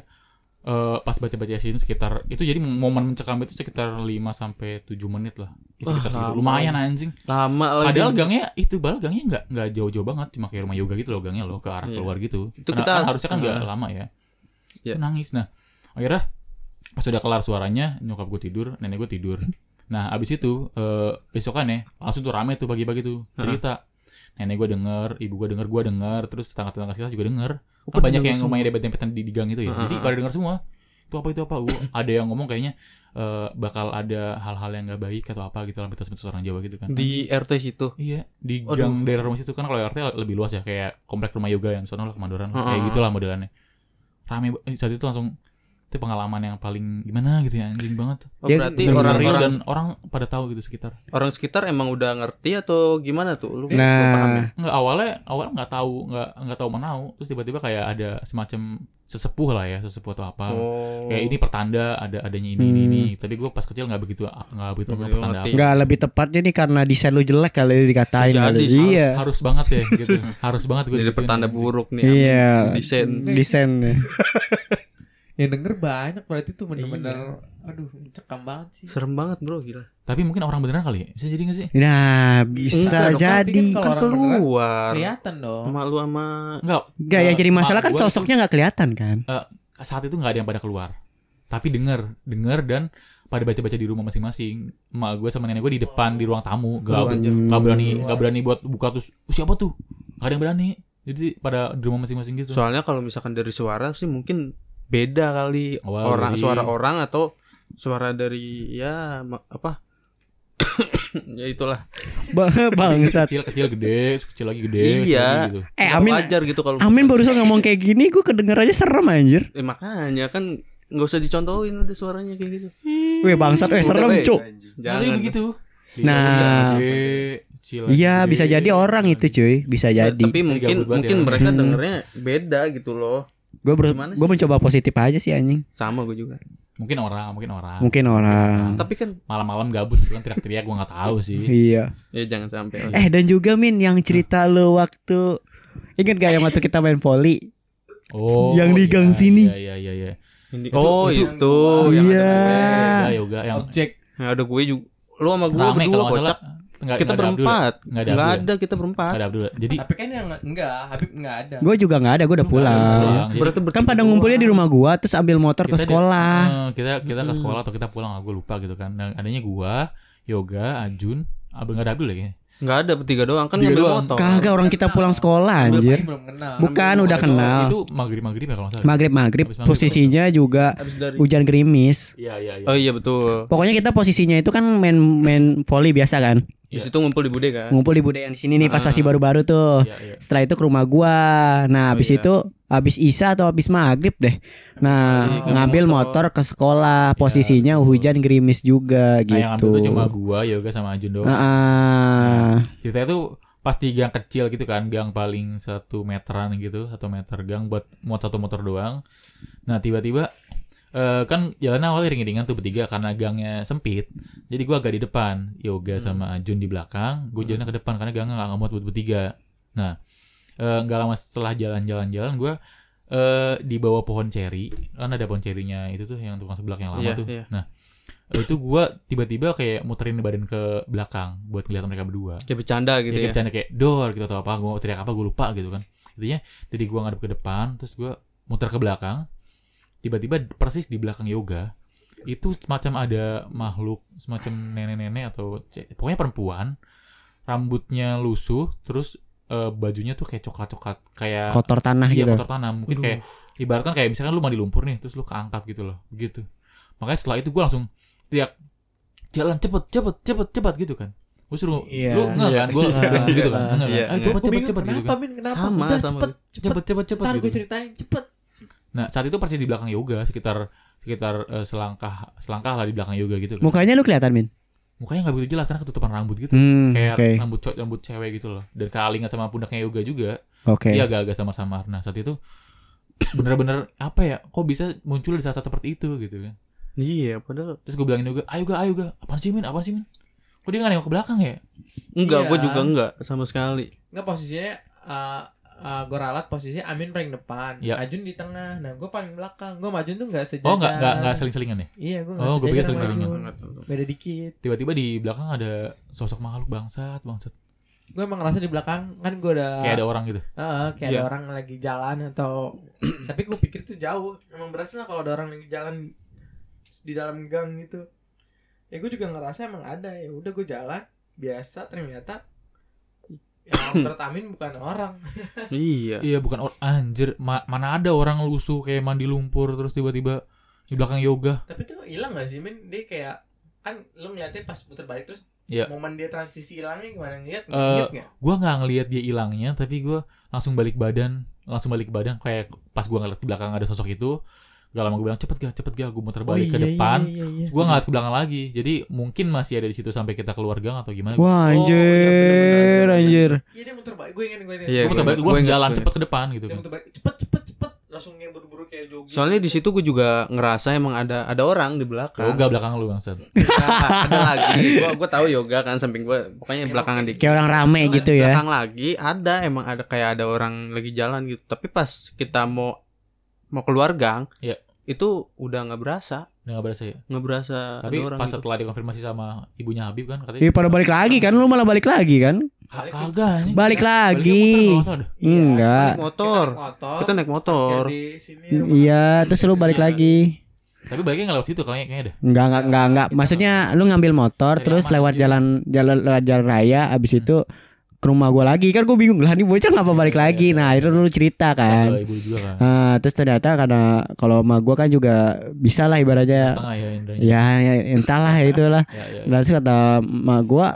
eh, pas baca-baca Yasin sekitar itu jadi momen mencekam itu sekitar 5 sampai 7 menit lah. Ya,
Wah,
sekitar segitu.
lama.
lumayan anjing.
lama lagi.
Padahal gangnya itu bal gangnya nggak nggak jauh-jauh banget cuma kayak rumah yoga gitu loh gangnya loh ke arah
Iya.
keluar gitu.
Itu
Karena
kita-
kan harusnya kan nggak
Ah.
lama ya.
Iya.
Nangis nah. Akhirnya pas udah kelar suaranya nyokap gue tidur, nenek gue tidur. Nah, abis itu eh besokan ya langsung tuh rame tuh pagi-pagi tuh cerita. Nenek gue denger, ibu gue denger, gue denger, terus tetangga-tetangga kita juga denger.
Oh,
Kan
padahal
banyak yang
langsung.
rumahnya dempet-dempetan di, di gang itu ya.
Ah,
Jadi
ah,
pada denger semua. Itu apa itu apa? Gua- ada yang ngomong kayaknya eh, bakal ada hal-hal yang gak baik atau apa gitu dalam mitos-mitos orang Jawa gitu kan.
di RT situ.
Iya, di
Aduh.
gang daerah rumah situ kan kalau RT lebih luas ya kayak komplek rumah yoga yang sono lah kemandoran lah.
Heeh.
kayak gitulah modelannya. Rame ba- eh, saat itu langsung itu pengalaman yang paling gimana gitu ya anjing banget
Oh,
Dia
berarti
bener-bener
orang real
orang-orang
dan orang pada tahu gitu sekitar
orang sekitar emang udah ngerti atau gimana tuh lu lu paham ya?
Nah,
nggak awalnya awalnya nggak tahu nggak nggak tahu menau terus tiba-tiba kayak ada semacam sesepuh lah ya sesepuh atau apa
oh. Hmm.
kayak ini pertanda ada adanya ini ini, ini. tapi gue pas kecil nggak begitu nggak
Nggak begitu
begitu apa pertanda
ngerti.
apa.
nggak lebih tepatnya nih karena desain lu jelek kali dikatain
Iya. Bisa jadi,
kali.
harus-
Iya.
harus banget ya gitu harus banget gue
Ini ada pertanda buruk nih
Iya.
amin. desain
Desain.
Yang denger banyak berarti tuh bener-bener
Iya.
Aduh cekam banget sih
serem banget bro gila
tapi mungkin orang beneran kali ya bisa jadi nggak sih
Nah, bisa
Enggak dong, kan
jadi.
bikin
kan
Kalau orang iya. beneran,
keluar
Kelihatan dong
sama lu sama
nggak
Enggak yang
Eh,
jadi masalah
mak
kan
gua
sosoknya nggak kelihatan kan.
saat itu nggak ada yang pada keluar tapi dengar dengar dan pada baca-baca di rumah masing-masing emak gue sama nenek gue di depan di ruang tamu gak
aja.
nggak berani nggak berani buat buka terus "Oh, siapa tuh nggak ada yang berani jadi pada di rumah masing-masing gitu
soalnya kalau misalkan dari suara sih mungkin beda kali
Awal
orang
dari-
suara orang atau suara dari ya ma- apa ya itulah
Bangsat.
kecil kecil gede terus kecil lagi gede kecil
Iya.
lagi gitu.
Eh,
Nggak
Amin.
wajar gitu kalau
Amin barusan ngomong kayak gini gue kedengerannya serem anjir.
Eh, makanya kan nggak usah dicontohin udah suaranya kayak gitu
Weh bangsat, eh
Udah,
serem,
weh.
Cuk.
Nanti begitu
Nah.
Gede, kecil lagi
Iya,
gede,
bisa jadi orang itu cuy, bisa
Ya,
jadi.
tapi mungkin
Gabut banget
mungkin
ya.
mereka
Iya, Hmm.
dengernya beda gitu loh
Gue
gimana sih?
gue mencoba positif aja sih anjing.
sama gue juga
mungkin orang mungkin orang
Mungkin orang.
tapi kan
malam-malam gabut kan teriak-teriak gue nggak tahu sih
Iya.
ya jangan sampai
Eh dan juga Min yang cerita lo waktu Ingat gak yang waktu kita main volley?
oh
Yang di
iya,
gang sini.
iya iya iya
Ini-
Itu-
oh
itu-
itu, yang
Iya.
ada
yoga Ya, yoga yang
Objek
gue. Yang ada gue juga. Lu sama gue
rame
berdua
kalau nggak salah
kocak.
nggak
Kita
nggak ada Abdul ya?
berempat.
nggak ada
Enggak
Abdul ya?
ada kita berempat.
Nggak ada Abdul ya? jadi
Tapi kan yang Enggak Habib enggak ada
Gue juga nggak ada, gue udah
Lu nggak ada, lu pulang.
pulang.
Jadi
Iya. Berarti bertiga
Kan pada
doang.
ngumpulnya di rumah gua terus ambil motor ke
kita di-
sekolah.
eh, kita kita ke
Mm.
sekolah atau kita pulang gue lupa gitu kan nah, adanya gua yoga Ajun Abdul nggak ada Abdul ya kayaknya.
Enggak ada bertiga doang kan
Bertiga
ngambil
doang.
motor.
Kagak orang kita pulang sekolah
Belum-
anjir.
Belum kenal
Bukan
Ambil-
udah
Itu-
kenal.
itu maghrib maghrib ya kalau nggak salah
Maghrib maghrib
Habis maghrib,
posisinya juga
Habis dari
hujan gerimis.
iya iya iya
Oh iya betul.
Pokoknya kita posisinya itu kan main main volley biasa kan.
Di
Iya.
situ ngumpul di Bude kan.
Ngumpul di budaya di sini nih pas
Ah.
masih baru-baru tuh.
iya, iya.
Setelah itu ke rumah gua. Nah,
Oh,
habis
iya.
itu habis Isa atau habis maghrib deh. Nah,
Iya,
ngambil
motor.
motor ke sekolah.
Iya,
Posisinya
betul.
hujan gerimis
Nah,
juga
yang ambil
gitu.
tuh cuma gua Iya. yoga sama Ajun
Nah,
doang
Ah, ah.
ceritanya tuh pas di gang kecil gitu kan gang paling satu meteran gitu satu meter gang buat muat satu motor doang nah tiba-tiba eh, kan jalannya awalnya ring-ringan tuh bertiga karena gangnya sempit jadi gua agak di depan yoga
Hmm.
sama Jun di belakang gue jalannya ke depan karena gangnya nggak muat buat bertiga nah eh, nggak lama setelah jalan-jalan-jalan gua eh di bawah pohon ceri kan ada pohon cerinya itu tuh yang tukang sebelah yang lama
Iya,
tuh
iya.
nah itu gua tiba-tiba kayak muterin badan ke belakang buat ngeliat mereka berdua
Kayak bercanda gitu
ya, kayak
ya.
bercanda kayak dor gitu atau apa gue teriak apa gue lupa gitu kan intinya jadi gue ngadep ke depan terus gue muter ke belakang tiba-tiba persis di belakang yoga itu semacam ada makhluk semacam nenek-nenek atau ce- pokoknya perempuan rambutnya lusuh terus eh, bajunya tuh kayak coklat-coklat kayak
kotor tanah
iya,
gitu.
kotor tanah mungkin kayak ibaratkan kayak misalkan lu mandi lumpur nih terus lu keangkat gitu loh begitu makanya setelah itu gua langsung teriak jalan cepet cepet cepet cepet gitu kan gue suruh
Iya.
lu enggak kan gue bilang gitu kan enggak
Iya,
kan ayo
iya.
cepet
Gua
cepet
bingung,
cepet gitu
Kenapa
kan
Min Kenapa
Sama,
Udah,
sama.
cepet Cepet
cepet cepet cepet
Ntar gue
gitu
ceritain Cepet
nah saat itu persis di belakang yoga sekitar sekitar eh, selangkah selangkah lah di belakang yoga gitu kan
Mukanya lu kelihatan, Min?
mukanya nggak begitu jelas karena ketutupan rambut gitu
Hmm,
kayak
oke.
rambut cowok rambut cewek gitu loh dan kealingan sama pundaknya yoga juga
Oke.
dia Iya, agak-agak samar-samar nah saat itu bener-bener apa ya kok bisa muncul di saat-saat seperti itu gitu kan
Iya, padahal
Terus gue bilangin juga, ayo ga, ayo ga, apaan sih Min, apaan sih Min? Kok dia gak nengok ke belakang ya?
enggak,
Iya.
gue juga enggak sama sekali.
Enggak posisinya eh eh, Gue ralat posisinya Amin paling depan
Iya.
Ajun di tengah Nah gue paling belakang Gue sama Ajun tuh gak sejajar
Oh gak, gak, gak seling-selingan ya?
Iya gue gak
Oh, gua pikir
sejajar sama
sering-seringan.
Ajun
Enggak tahu.
Beda dikit
Tiba-tiba di belakang ada sosok makhluk bangsat, bangsat
Gue emang ngerasa di belakang Kan gue udah
Kayak ada orang gitu
Heeh, kayak
Iya.
ada orang lagi jalan atau tapi gue pikir tuh jauh emang berasa lah kalau ada orang lagi jalan di dalam gang gitu ya gue juga ngerasa emang ada ya udah gue jalan biasa ternyata yang tertamin bukan orang
Iya.
Iya bukan orang, anjir, ma- mana ada orang lusuh kayak mandi lumpur terus tiba-tiba di belakang yoga
tapi tuh hilang gak sih min dia kayak kan lu ngeliatnya pas puter balik terus
Iya.
momen dia transisi hilangnya gimana ngeliat
Eh,
ngeliat nggak
Gue gak ngelihat dia hilangnya, tapi gue langsung balik badan Langsung balik badan, kayak pas gue ngeliat di belakang ada sosok itu Gak lama gue bilang cepet gak cepet gak gue muter
Oh,
balik ke
iya, iya,
depan.
iya, iya.
Gue nggak ke belakang lagi. Jadi mungkin masih ada di situ sampai kita keluar gang atau gimana.
Oh, iya,
Wah anjir,
bener-bener,
anjir.
Iya dia muter balik. Gue ingat gue ingat.
Iya,
Gue muter balik, gue
Gua
langsung
ingat,
jalan
gua
cepet ke depan gitu
Dia
kan.
muter balik. Cepet cepet cepet. Langsung yang buru-buru kayak jogging.
Soalnya di situ gue juga ngerasa emang ada ada orang di
Kan.
belakang.
Yoga belakang lu bangsat.
Nah, ada lagi. Gua gua tahu yoga kan samping gua pokoknya belakangan dikit.
Kayak orang rame gitu ya.
Belakang lagi ada emang ada kayak ada orang lagi jalan gitu. Tapi pas kita mau mau keluar gang,
Iya.
itu udah nggak berasa,
Udah nggak berasa ya.
nggak berasa
Tapi
ada orang.
pas
gitu.
setelah dikonfirmasi sama ibunya Habib kan katanya.
Iya pada balik lagi kan lu malah balik lagi kan?
Ka- Kagak anjing.
Balik
Baliknya Iya, muter,
lagi.
nggak salah dah.
Iya, kan naik
Enggak.
motor.
Kita naik motor.
Kita naik motor.
parkir Di sini. rumah.
Iya, terus lu balik
Iya.
lagi.
Tapi baliknya nggak lewat situ kayaknya kayaknya deh.
Enggak, enggak, enggak, enggak. Maksudnya lu ngambil motor
Dari
terus
aman
lewat
aja.
jalan jalan lewat jalan raya abis itu ke rumah gua lagi kan gua bingung lah ini bocah kenapa balik
Iya,
lagi
iya.
nah akhirnya lu cerita
Pas
kan
sama ibu juga kan.
Ah, terus ternyata karena kalau sama gua kan juga bisa lah ibaratnya
Setengah ya Indranya.
ya, ya entahlah ya itulah
Ya, ya,
Nah, terus kata emak gua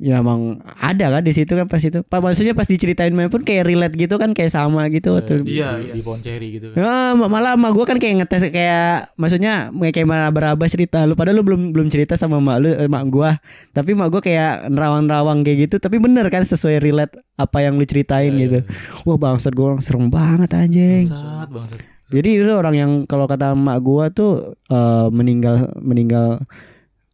ya emang ada kan di situ kan pas itu pak maksudnya pas diceritain main pun kayak relate gitu kan kayak sama gitu tuh
Di,
Iya,
di,
iya.
di Ponceri gitu kan.
Ya, ma- malah sama gue kan kayak ngetes kayak maksudnya kayak mana beraba cerita lu padahal lu belum belum cerita sama mak lu eh, mak gua tapi mak gua kayak nerawang-nerawang kayak gitu tapi bener kan sesuai relate apa yang lu ceritain
Ya,
gitu
ya, ya.
wah bangsat gue serem banget anjing
Bangsat, bangsat.
jadi itu orang yang kalau kata mak gua tuh eh, meninggal meninggal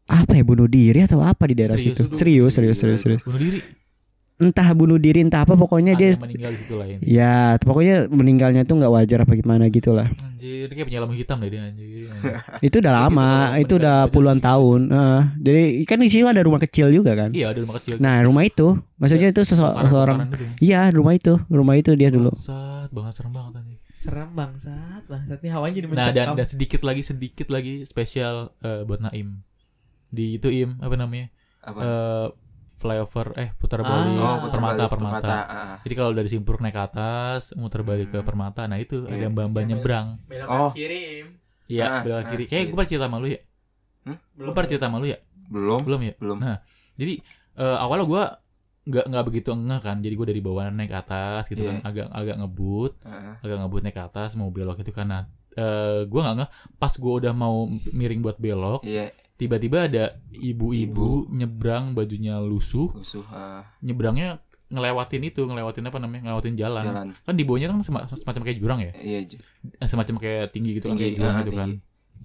apa ya bunuh diri atau apa di daerah
Serius,
situ
aduh.
serius serius serius serius
Bunuh diri.
entah bunuh diri entah apa pokoknya
Ada
Iya, dia
yang meninggal di situ lain.
ya pokoknya meninggalnya tuh nggak wajar apa gimana gitu lah
Anjir, kayak penyelam hitam deh dia anjir. anjir.
Itu udah
Tapi
lama,
itu
itu
udah
udah
lama
puluhan
juga.
tahun. Heeh. jadi kan di sini ada rumah kecil juga kan.
iya, ada rumah kecil.
Nah, rumah itu maksudnya itu sese-
Kebakaran-
seseorang
kebakaran gitu ya.
Iya, rumah itu. Rumah itu dia Iya dulu.
Bangsat, banget serem banget anjir.
Serem bangsat bangsat nih hawanya jadi
Nah, dan,
mencekam.
dan sedikit lagi sedikit lagi spesial eh, buat Naim. Di itu Im, apa namanya?
Apa?
Eh flyover eh putar
Ah.
balik
oh,
putar
permata,
balik,
permata
ah, ah.
Jadi kalau dari Simpur naik ke atas, muter balik ke Permata. Nah, itu ada
Hmm. Iya.
mbak-mbak
Iya,
nyebrang.
Belok
Oh.
kiri Im.
Iya,
Ah,
belok
ah,
kiri. Kayak
iya.
gue pernah cerita sama lu ya. Gue
Belum.
pernah cerita sama lu ya?
Belum,
Belum ya?
belum.
Nah, Jadi eh, awalnya gue nggak nggak begitu ngeh kan. Jadi gue dari bawah naik ke atas gitu
Iya.
kan. Agak agak ngebut,
Ah, ah.
agak ngebut naik ke atas mau belok itu karena eh gue nggak ngeh. Pas gue udah mau miring buat belok,
Iya,
tiba-tiba ada ibu-ibu nyebrang bajunya lusuh,
rusuh ah,
nyebrangnya ngelewatin itu, ngelewatin apa namanya? Ngelewatin jalan.
jalan.
Kan di bawahnya kan sema- semacam kayak jurang ya.
Iya, ju-
Eh, semacam kayak tinggi gitu kan kayak
tinggi,
jurang
ah,
gitu kan.
tinggi.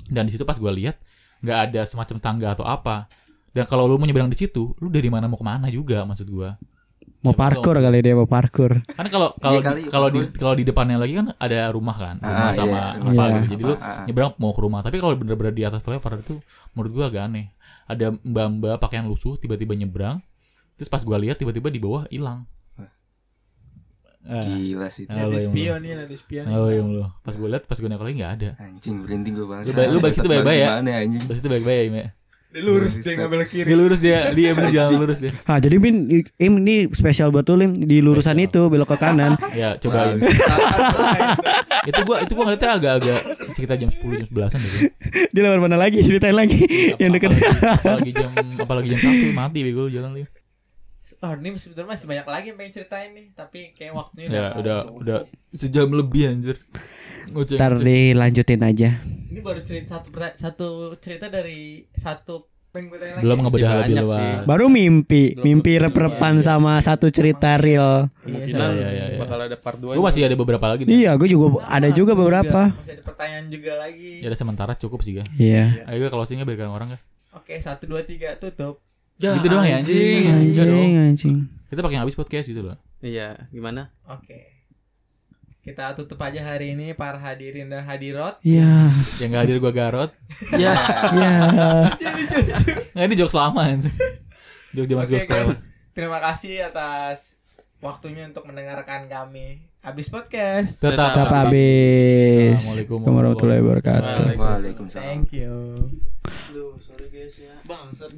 Dan di situ pas gue lihat nggak ada semacam tangga atau apa. Dan kalau lu mau nyebrang di situ, lu dari mana mau kemana juga maksud gua. Ya,
Mau parkur
betul.
kali dia mau parkur.
Karena kalau kalau
Iya kali,
di- kalau di
parkur.
kalau di depannya lagi kan ada rumah kan, rumah
Ah,
sama
iya,
apa
sama
gitu. Jadi lu
apa, ah, ah.
nyebrang mau ke rumah. Tapi kalau bener-bener di atas flyover itu menurut gua agak aneh. Ada mbak-mbak pakaian lusuh tiba-tiba nyebrang. Terus pas gua lihat tiba-tiba di bawah hilang. Eh,
gila sih. itu.
Ah.
Nanti
Halo, Im.
spion nih nanti spion.
oh, yang lu. Pas gua lihat pas gua nengok lagi nggak ada.
Anjing berhenti gue banget.
Lu ba- lu balik situ bye-bye ya?
Gimana anjing?
Pas itu baik-baik ya, Ime.
Dia lurus
Bangsat.
dia ngambil kiri.
Dia lurus dia, dia bener jalan lurus dia.
Ah, jadi Bin i- Im ini spesial buat lu Lim di lurusan
Spesial.
itu belok ke kanan.
Ya, coba Im. itu gua itu gua ngeliatnya agak-agak sekitar jam 10 jam 11-an gitu.
dia lewat mana lagi? Ceritain lagi yang dekat.
Apalagi jam apalagi jam 1 mati bego lu jalan lu.
Oh ini sebetulnya masih banyak lagi yang pengen ceritain nih Tapi kayak waktunya
Ya,
habis.
udah udah sejam lebih anjir. Ngoceng.
Ntar dilanjutin aja.
Ini baru cerita satu, perta- satu cerita dari satu Pengen gue tanya lagi.
Belum ngebedah
Masih
lebih
banyak sih.
luas.
Baru mimpi,
Belum-
mimpi
belum-
rep-repan
iya.
sama satu cerita real.
Kemungkinan
Iya, iya, iya.
bakal ada part gitu. 2.
Gua masih ada beberapa lagi nih.
Iya, gue juga ada juga beberapa.
Masih ada pertanyaan juga lagi
Ya udah sementara cukup sih, Ga.
Iya.
Ayo gua closing-nya biarkan orang, Ga.
Oke satu dua tiga tutup
gitu doang ya anjing. Udah dong.
Anjing, anjing.
Kita pakai yang habis podcast gitu loh.
Iya, gimana?
Oke Kita tutup aja hari ini Para hadirin dan hadirot
Iya.
Yang gak hadir gua garot.
Iya.
Nah, ini jokes lama anjing. Jokes zaman
Oke,
gua sekolah.
guys. Terima kasih atas Waktunya untuk mendengarkan kami Habis podcast
Tetap
Tetap
Assalamualaikum
habis. Assalamualaikum warahmatullahi wabarakatuh.
Waalaikumsalam.
Thank you
Aduh, sorry guys ya. Bangsat.